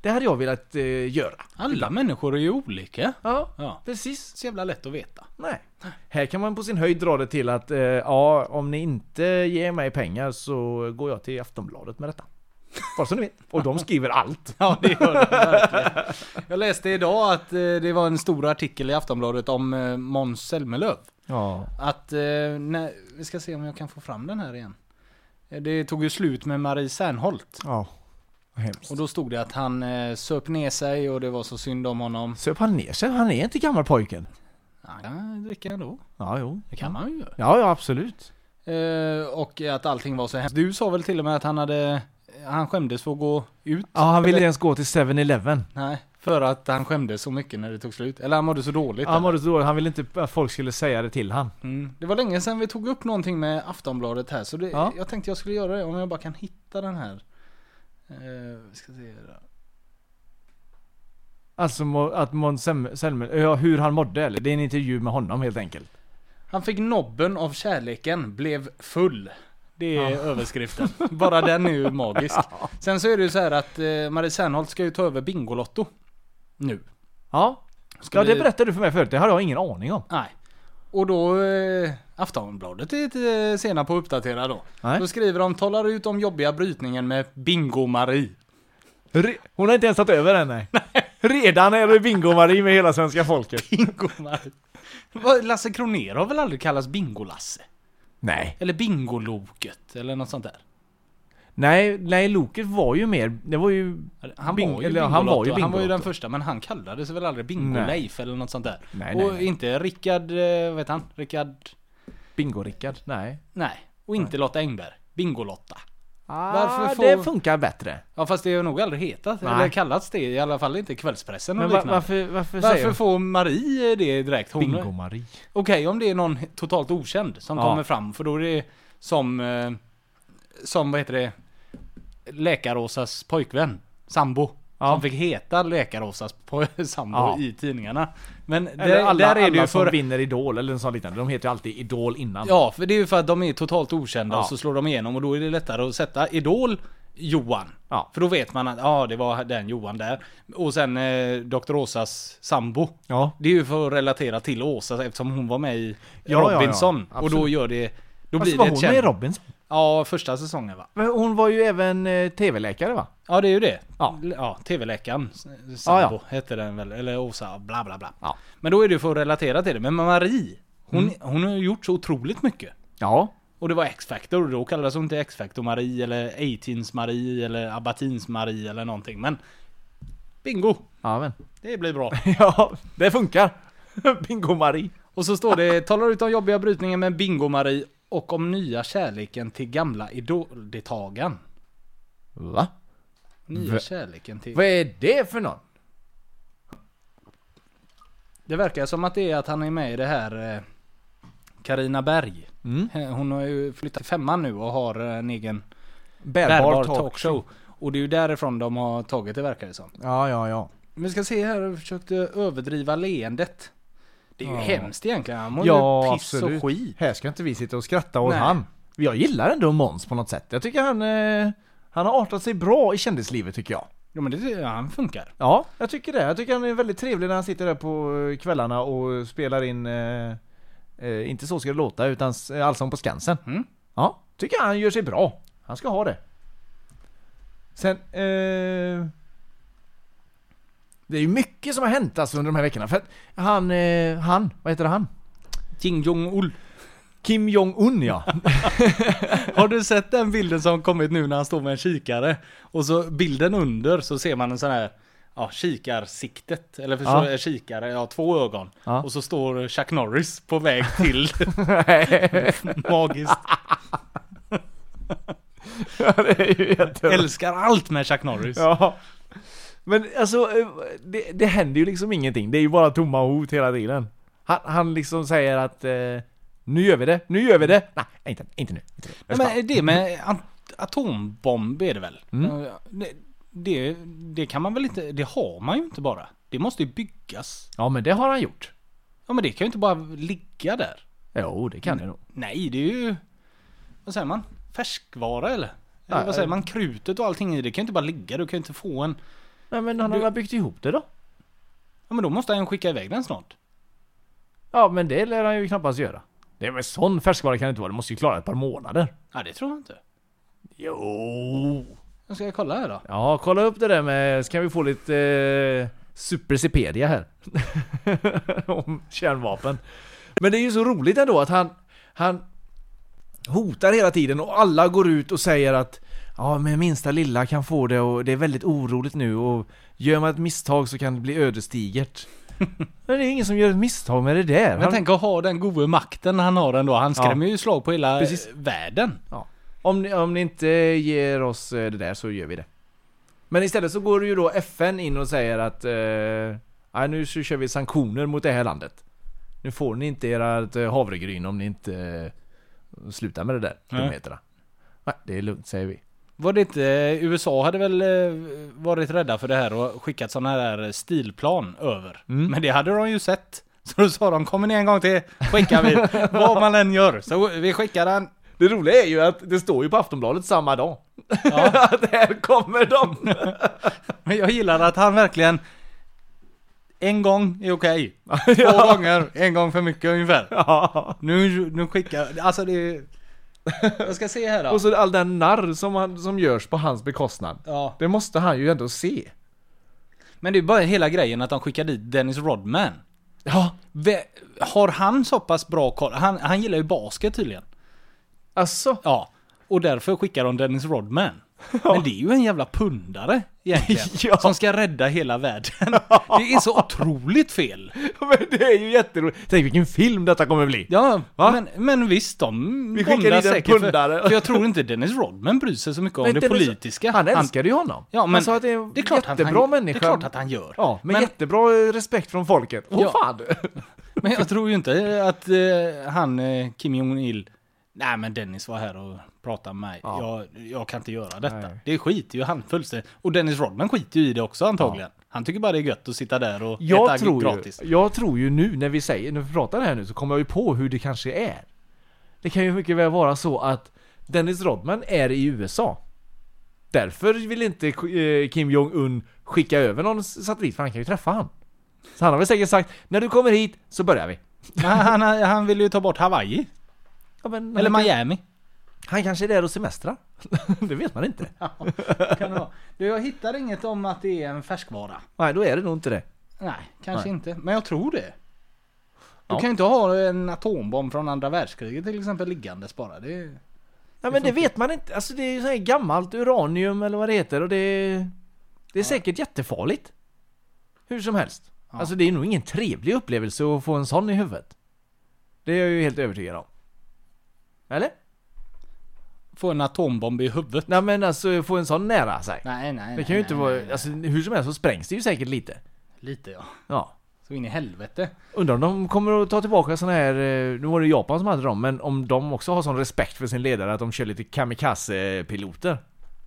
Speaker 5: Det hade jag velat eh, göra.
Speaker 4: alla människor är ju olika.
Speaker 5: Ja,
Speaker 4: Ja.
Speaker 5: precis.
Speaker 4: Så jävla lätt att veta.
Speaker 5: Nej. Här kan man på sin höjd dra det till att eh, ja, om ni inte ger mig pengar så går jag till Aftonbladet med detta. Bara så ni vet. Och de skriver allt.
Speaker 4: Ja, det gör det verkligen. Jag läste idag att eh, det var en stor artikel i Aftonbladet om eh, Måns Zelmerlöw.
Speaker 5: Ja.
Speaker 4: Att, eh, när, vi ska se om jag kan få fram den här igen. Eh, Det tog ju slut med Marie Serneholt.
Speaker 5: Ja. Vad Hemskt.
Speaker 4: Och då stod det att han eh, söp ner sig och det var så synd om honom.
Speaker 5: Söp han ner sig? Han är inte gammal pojken.
Speaker 4: Ja, Han kan dricka ändå.
Speaker 5: Ja, jo.
Speaker 4: Det kan man ju göra.
Speaker 5: Ja, ja absolut.
Speaker 4: Eh, och att allting var så hemskt. Du sa väl till och med att han hade... Han skämdes för att gå ut?
Speaker 5: Ja, han ville inte ens gå till 7-Eleven.
Speaker 4: Nej. För att han skämdes så mycket när det tog slut. Eller han mådde så dåligt.
Speaker 5: Ja, Han mådde så dåligt. Han ville inte att folk skulle säga det till han.
Speaker 4: Mm. Det var länge sedan vi tog upp någonting med Aftonbladet här, så det,
Speaker 5: Ja.
Speaker 4: jag tänkte jag skulle göra det om jag bara kan hitta den här. Eh, vi ska se. här.
Speaker 5: Alltså må- att Måns Zelmer- Zelmer- ja, hur han mådde eller? Det är en intervju med honom helt enkelt.
Speaker 4: Han fick nobben av kärleken, blev full. Det är överskriften. Bara den är ju magisk. Sen så är det ju så här att eh, Marie Serneholt ska ju ta över Bingolotto. Nu.
Speaker 5: Ja.
Speaker 4: Ska
Speaker 5: Ja, det
Speaker 4: vi-
Speaker 5: berättade du för mig förut. Det hade jag ingen aning om.
Speaker 4: Nej. Och då, eh, Aftonbladet är lite eh, sena på att uppdatera då.
Speaker 5: Nej.
Speaker 4: Då skriver de, talar ut om jobbiga brytningen med Bingo-Marie.
Speaker 5: Re- Hon har inte ens tagit över än nej. Redan är det bingo-Marie med hela svenska folket.
Speaker 4: Bingo-Marie. Vad, Lasse Kronér har väl aldrig kallats Bingo-Lasse?
Speaker 5: Nej.
Speaker 4: Eller Bingoloket, eller något sånt där.
Speaker 5: Nej, nej Loket var ju mer, det var ju...
Speaker 4: Han
Speaker 5: Bing-
Speaker 4: var ju
Speaker 5: eller,
Speaker 4: Bingolotto,
Speaker 5: han
Speaker 4: han
Speaker 5: var
Speaker 4: var
Speaker 5: ju
Speaker 4: ju den
Speaker 5: Bingolotto.
Speaker 4: första, men han kallades väl aldrig Bingo-Leif eller något sånt där.
Speaker 5: Nej,
Speaker 4: och
Speaker 5: nej, nej.
Speaker 4: inte Rickard, eh, vad heter han? Rickard...
Speaker 5: Bingo-Rickard? Nej.
Speaker 4: Nej. Och inte Lotta Engberg. Bingolotta.
Speaker 5: Ah,
Speaker 4: Varför får-
Speaker 5: Det funkar bättre.
Speaker 4: Ja fast det har nog aldrig hetat,
Speaker 5: Nej.
Speaker 4: eller kallats det, i alla fall inte i kvällspressen och
Speaker 5: Men va-
Speaker 4: liknande.
Speaker 5: varför, varför,
Speaker 4: Varför
Speaker 5: säger
Speaker 4: får Marie det direkt? Hon...
Speaker 5: Bingo Marie.
Speaker 4: Okej, om det är någon totalt okänd som
Speaker 5: Ja.
Speaker 4: kommer fram, för då är det som... eh, Som, vad heter det? Läkaråsas pojkvän. Sambo.
Speaker 5: Ja.
Speaker 4: Som fick heta Läkaråsas poj- sambo
Speaker 5: Ja.
Speaker 4: i tidningarna. Men
Speaker 5: Eller
Speaker 4: där,
Speaker 5: alla,
Speaker 4: där är det ju
Speaker 5: alla som
Speaker 4: för...
Speaker 5: vinner Idol eller en sån liknande. De heter ju alltid Idol innan.
Speaker 4: Ja, för det är ju för att de är totalt okända
Speaker 5: Ja.
Speaker 4: och så slår de igenom och då är det lättare att sätta Idol Johan.
Speaker 5: Ja.
Speaker 4: För då vet man att ja, det var den Johan där. Och sen eh, Dr. Åsas sambo.
Speaker 5: ja.
Speaker 4: Det är ju för att relatera till Åsa eftersom hon var med i
Speaker 5: Ja, ja, ja.
Speaker 4: Robinson. och då
Speaker 5: Absolut.
Speaker 4: gör det... Då
Speaker 5: Alltså
Speaker 4: blir
Speaker 5: var
Speaker 4: det
Speaker 5: hon
Speaker 4: ett
Speaker 5: med i
Speaker 4: känd-
Speaker 5: Robinson?
Speaker 4: Ja, första säsongen va?
Speaker 5: Men Hon var ju även eh, tv-läkare va?
Speaker 4: Ja, det är ju det.
Speaker 5: Ja.
Speaker 4: L- ja TV-läkaren. s- Sambo
Speaker 5: Ja, ja.
Speaker 4: hette den väl. Eller Åsa, bla bla bla.
Speaker 5: Ja. Mm.
Speaker 4: Men då är det ju för att relatera till det. Men Marie, hon, hon har ju gjort så otroligt mycket.
Speaker 5: Ja.
Speaker 4: Och det var X-Factor, och då kallades hon inte X-Factor Marie eller A-Teens Marie eller Abatins Marie eller någonting. Men bingo!
Speaker 5: Ja men.
Speaker 4: Det blir bra.
Speaker 5: Ja, det funkar. Bingo Marie.
Speaker 4: Och så står det talar ut om jobbiga brytningen med Bingo-Marie och om nya kärleken till gamla idoldeltagaren.
Speaker 5: Va?
Speaker 4: Nya
Speaker 5: Va-
Speaker 4: kärleken till...
Speaker 5: Vad är det för någon?
Speaker 4: Det verkar som att det är att han är med i det här eh, Karina Berg.
Speaker 5: Mm.
Speaker 4: Eh, Hon har ju flyttat till femman nu och har eh, en egen
Speaker 5: Bärbar,
Speaker 4: bärbar talkshow. Och det är ju därifrån de har tagit det verkar det som.
Speaker 5: Ja, ja, ja.
Speaker 4: Vi ska se här, jag försökte överdriva leendet. Det är ju
Speaker 5: Ja.
Speaker 4: hemskt egentligen, han mår
Speaker 5: Ja,
Speaker 4: ju piss
Speaker 5: absolut.
Speaker 4: och skit.
Speaker 5: Här ska inte vi sitta och skratta åt
Speaker 4: Nej.
Speaker 5: han. Jag gillar ändå Måns på något sätt. Jag tycker han, eh, han har artat sig bra i kändislivet tycker jag.
Speaker 4: Ja men det, ja, han funkar.
Speaker 5: Ja, jag tycker det. Jag tycker han är väldigt trevlig när han sitter där på eh, kvällarna och spelar in, eh, eh, inte Så ska det låta, utan s- eh, Allsång på Skansen.
Speaker 4: Mm.
Speaker 5: Ja, tycker han gör sig bra. Han ska ha det. Sen, eh, det är ju mycket som har hänt alltså under de här veckorna. För att han, eh, han, vad heter han?
Speaker 4: Jing Jong-Ol.
Speaker 5: Kim Jong-Un ja.
Speaker 4: Har du sett den bilden som kommit nu när han står med en kikare? Och så bilden under så ser man en sån här Ja, kikarsiktet. Eller förstår
Speaker 5: Ja.
Speaker 4: du? Kikare, ja två ögon.
Speaker 5: Ja.
Speaker 4: Och så står Chuck Norris på väg till.
Speaker 5: Nej,
Speaker 4: Magiskt.
Speaker 5: det är ju jättebra.
Speaker 4: Älskar allt med Chuck Norris.
Speaker 5: Ja. Men alltså, eh, det, det händer ju liksom ingenting. Det är ju bara tomma hot hela tiden. Han, han liksom säger att eh, nu gör vi det, nu gör vi det. Nej, inte, inte nu. Inte nu.
Speaker 4: Nej, men det med an- atombomb är det väl? Det, det, det kan man väl inte, det har man ju inte bara. Det måste ju byggas.
Speaker 5: Ja, men det har han gjort.
Speaker 4: Ja men det kan ju inte bara ligga där.
Speaker 5: Jo, det kan det nog.
Speaker 4: Nej, det är ju... Vad säger man? Färskvara eller? eller
Speaker 5: Nej.
Speaker 4: vad säger man? Krutet och allting i det kan ju inte bara ligga. Du kan ju inte få en...
Speaker 5: Nej, men han har väl byggt ihop det då?
Speaker 4: Ja men då måste han skicka iväg den snart.
Speaker 5: Ja, men det lär han ju knappast göra. Det är väl sån färskvara kan det inte vara. Det måste ju klara ett par månader.
Speaker 4: Ja det tror jag inte.
Speaker 5: Jo.
Speaker 4: Jag ska kolla här då.
Speaker 5: Ja, kolla upp det där med... Så kan vi få lite... Eh, Supersipedia här. Om kärnvapen. Men det är ju så roligt ändå att han... Han hotar hela tiden och alla går ut och säger att Ja, men minsta lilla kan få det och det är väldigt oroligt nu och gör man ett misstag så kan det bli ödesdigert. Men det är ingen som gör ett misstag med det där.
Speaker 4: Men
Speaker 5: Han,
Speaker 4: tänk att ha den gode makten han har ändå. Han skrämmer ju slag på hela
Speaker 5: Precis.
Speaker 4: eh, världen.
Speaker 5: ja. om, ni, om ni inte ger oss eh, det där så gör vi det. Men istället så går ju då FN in och säger att eh, "Nej, nu så kör vi sanktioner mot det här landet. Nu får ni inte ert eh, havregryn om ni inte eh, slutar med det där
Speaker 4: Nej.
Speaker 5: dumheterna. Nej, det är lugnt säger vi.
Speaker 4: Var det inte... eh, USA hade väl eh, varit rädda för det här och skickat sådana här eh, stilplan över.
Speaker 5: Mm.
Speaker 4: Men det hade de ju sett. Så då sa de kommer ni en gång till skickar vi. Vad man än gör. Så vi skickar den.
Speaker 5: Det roliga är ju att det står ju på Aftonbladet samma dag. att här kommer de!
Speaker 4: Men jag gillar att han verkligen En gång är okej. Två gånger, en gång för mycket ungefär.
Speaker 5: ja.
Speaker 4: Nu, nu skickar, alltså det är... Jag ska se här då.
Speaker 5: Och så all den narr som, han, som görs på hans bekostnad.
Speaker 4: Ja.
Speaker 5: Det måste han ju ändå se.
Speaker 4: Men det är bara hela grejen att de skickar dit Dennis Rodman.
Speaker 5: Ja,
Speaker 4: Ve- har han så pass bra koll? Han, han gillar ju basket tydligen.
Speaker 5: alltså.
Speaker 4: Ja. Och därför skickar de Dennis Rodman. Men det är ju en jävla pundare egentligen.
Speaker 5: Ja.
Speaker 4: Som ska rädda hela världen. Det är så otroligt fel.
Speaker 5: Men det är ju jätteroligt. Tänk vilken film detta kommer bli.
Speaker 4: Ja,
Speaker 5: Va?
Speaker 4: men, men visst de
Speaker 5: Vi skickar
Speaker 4: bondar
Speaker 5: in en
Speaker 4: säkert, för-
Speaker 5: pundare.
Speaker 4: För jag tror inte Dennis Rodman bryr sig så mycket om
Speaker 5: Men
Speaker 4: det
Speaker 5: Dennis-
Speaker 4: politiska.
Speaker 5: Han älskade ju honom.
Speaker 4: Ja, men
Speaker 5: han sa att det är en
Speaker 4: det är klart att han-
Speaker 5: jättebra
Speaker 4: det är
Speaker 5: människa.
Speaker 4: klart att han gör.
Speaker 5: Ja, med
Speaker 4: Men-
Speaker 5: jättebra respekt från folket. Åh
Speaker 4: Ja.
Speaker 5: fan!
Speaker 4: Men jag tror ju inte att eh, han, eh, Kim Jong-Il, nej men Dennis var här och pratade med mig. Jag, jag kan inte göra detta.
Speaker 5: Nej.
Speaker 4: Det skiter ju han fullständigt. Och Dennis Rodman skiter ju i det också antagligen. Han tycker bara det är gött att sitta där och äta
Speaker 5: Jag tror, ju,
Speaker 4: gratis.
Speaker 5: jag tror ju nu när vi säger, när vi pratar här nu så kommer jag ju på hur det kanske är. Det kan ju mycket väl vara så att Dennis Rodman är i USA. Därför vill inte eh, Kim Jong-Un skicka över någon satellit för han kan ju träffa han. Så han har väl säkert sagt, när du kommer hit så börjar vi.
Speaker 4: Han, han, han vill ju ta bort Hawaii.
Speaker 5: Ja, men
Speaker 4: Eller
Speaker 5: han,
Speaker 4: Miami.
Speaker 5: han kanske är där och semestrar. det vet man inte.
Speaker 4: Kan det vara. Du, jag hittar inget om att det är en färskvara.
Speaker 5: Nej, då är det nog inte det.
Speaker 4: Nej, kanske inte. Men jag tror det. Du
Speaker 5: Ja.
Speaker 4: kan ju inte ha en atombomb från andra världskriget till exempel liggandes bara. Det är...
Speaker 5: Ja men det vet man inte. Alltså det är ju så här gammalt uranium eller vad det heter och det... Det är säkert jättefarligt. Hur som helst. Alltså det är nog ingen trevlig upplevelse att få en sån i huvudet. Det är jag ju helt övertygad om. Eller?
Speaker 4: Få en atombomb i huvudet.
Speaker 5: Nej men alltså få en sån nära sig.
Speaker 4: Nej, nej,
Speaker 5: det
Speaker 4: nej,
Speaker 5: kan ju inte
Speaker 4: nej,
Speaker 5: vara...
Speaker 4: nej, nej.
Speaker 5: Alltså hur som helst så sprängs det ju säkert lite.
Speaker 4: Lite ja.
Speaker 5: Ja.
Speaker 4: Så in i helvete.
Speaker 5: Undrar om de kommer att ta tillbaka såna här... eh, Nu var det Japan som hade dem, men om de också har sån respekt för sin ledare att de kör lite kamikaze-piloter.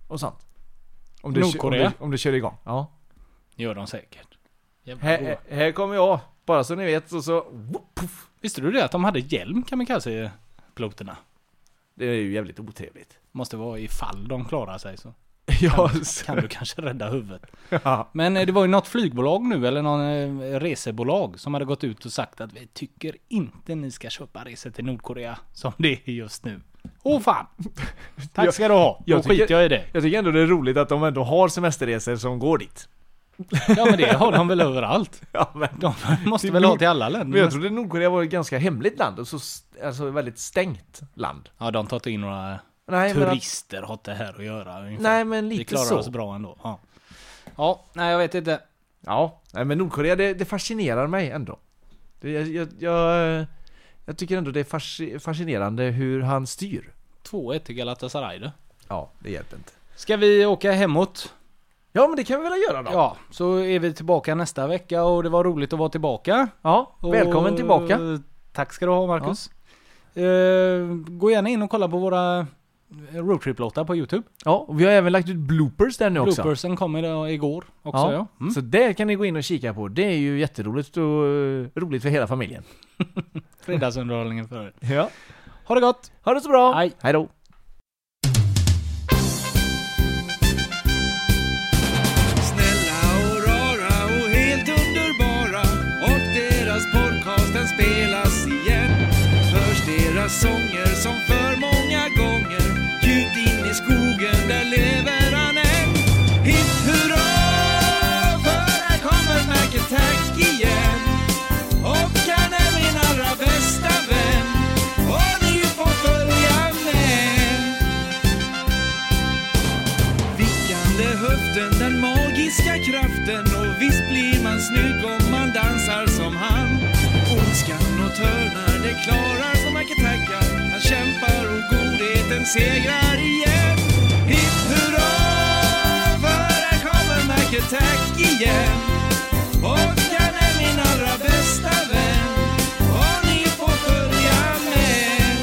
Speaker 5: Och sånt. Om det, om
Speaker 4: Nordkorea.
Speaker 5: det, om det kör igång. Ja.
Speaker 4: Gör de säkert. Jävla goa.
Speaker 5: Här, här kommer jag, bara så ni vet. Och så... whoop, puff.
Speaker 4: Visste du det att de hade hjälm kamikaze-piloterna?
Speaker 5: Det är ju jävligt otrevligt.
Speaker 4: Måste vara ifall de klarar sig så
Speaker 5: Ja,
Speaker 4: kan du kanske rädda huvudet.
Speaker 5: ja.
Speaker 4: Men eh, det var ju något flygbolag nu eller någon eh, resebolag som hade gått ut och sagt att vi tycker inte ni ska köpa resor till Nordkorea som det är just nu. Åh fan! Tack ska du ha! Då
Speaker 5: jag tycker-
Speaker 4: skiter jag i det.
Speaker 5: Jag tycker ändå det är roligt att de ändå har semesterresor som går dit.
Speaker 4: Ja men det har de väl överallt.
Speaker 5: Ja, men,
Speaker 4: De måste
Speaker 5: Till
Speaker 4: väl ha
Speaker 5: Nord-
Speaker 4: till alla länder.
Speaker 5: men jag trodde Nordkorea var ett ganska hemligt land. Och så, st- alltså ett väldigt stängt land.
Speaker 4: Ja de tar inte in några
Speaker 5: Nej, men att-
Speaker 4: turister har det här att göra. ungefär.
Speaker 5: Nej, men
Speaker 4: Vi
Speaker 5: lite
Speaker 4: klarar
Speaker 5: så.
Speaker 4: oss bra ändå. Ja. ja, nej jag vet inte.
Speaker 5: Ja, nej, men Nordkorea det, det fascinerar mig ändå. Det, jag, jag, jag, jag tycker ändå det är fasci- fascinerande hur han styr.
Speaker 4: 2-1 till Galatasaray då.
Speaker 5: Ja, det hjälper inte.
Speaker 4: Ska vi åka hemåt?
Speaker 5: Ja, men det kan vi väl göra då?
Speaker 4: Ja, så är vi tillbaka nästa vecka och det var roligt att vara tillbaka.
Speaker 5: Ja,
Speaker 4: Och-
Speaker 5: välkommen tillbaka.
Speaker 4: Tack ska du ha Marcus. Eh, gå gärna in och kolla på våra roadtrip-låtar på YouTube.
Speaker 5: Ja, och vi har även lagt ut bloopers där nu också.
Speaker 4: Bloopersen kom idag, igår också ja. Mm.
Speaker 5: Så det kan ni gå in och kika på. Det är ju jätteroligt och eh, roligt för hela familjen.
Speaker 4: Fredagsunderhållningen för er.
Speaker 5: Ja.
Speaker 4: Ha det gott!
Speaker 5: Ha det så bra!
Speaker 4: Hej.
Speaker 5: Hej då!
Speaker 6: snälla och rara och helt underbara och deras podcast den spelas igen. Hörs deras sånger som för många gånger djupt in i skogen där lever han än. Hipp hurra, för här kommer Mac Attack igen. Och han är min allra bästa vän och ni får följa med. Vickande höften, den magiska kraften och visst blir man snygg om man dansar som han. Ondskan och törnar, det klarar som man kan tacka. Han kämpar och godheten segrar igen. Hipp hurra, för här kommer Mac Attack igen. Och han är min allra bästa vän. Och ni får följa med.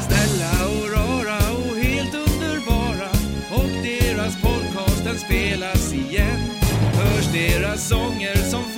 Speaker 6: Snälla och rara och helt underbara och deras podcast den spelas igen. Hörs deras sånger som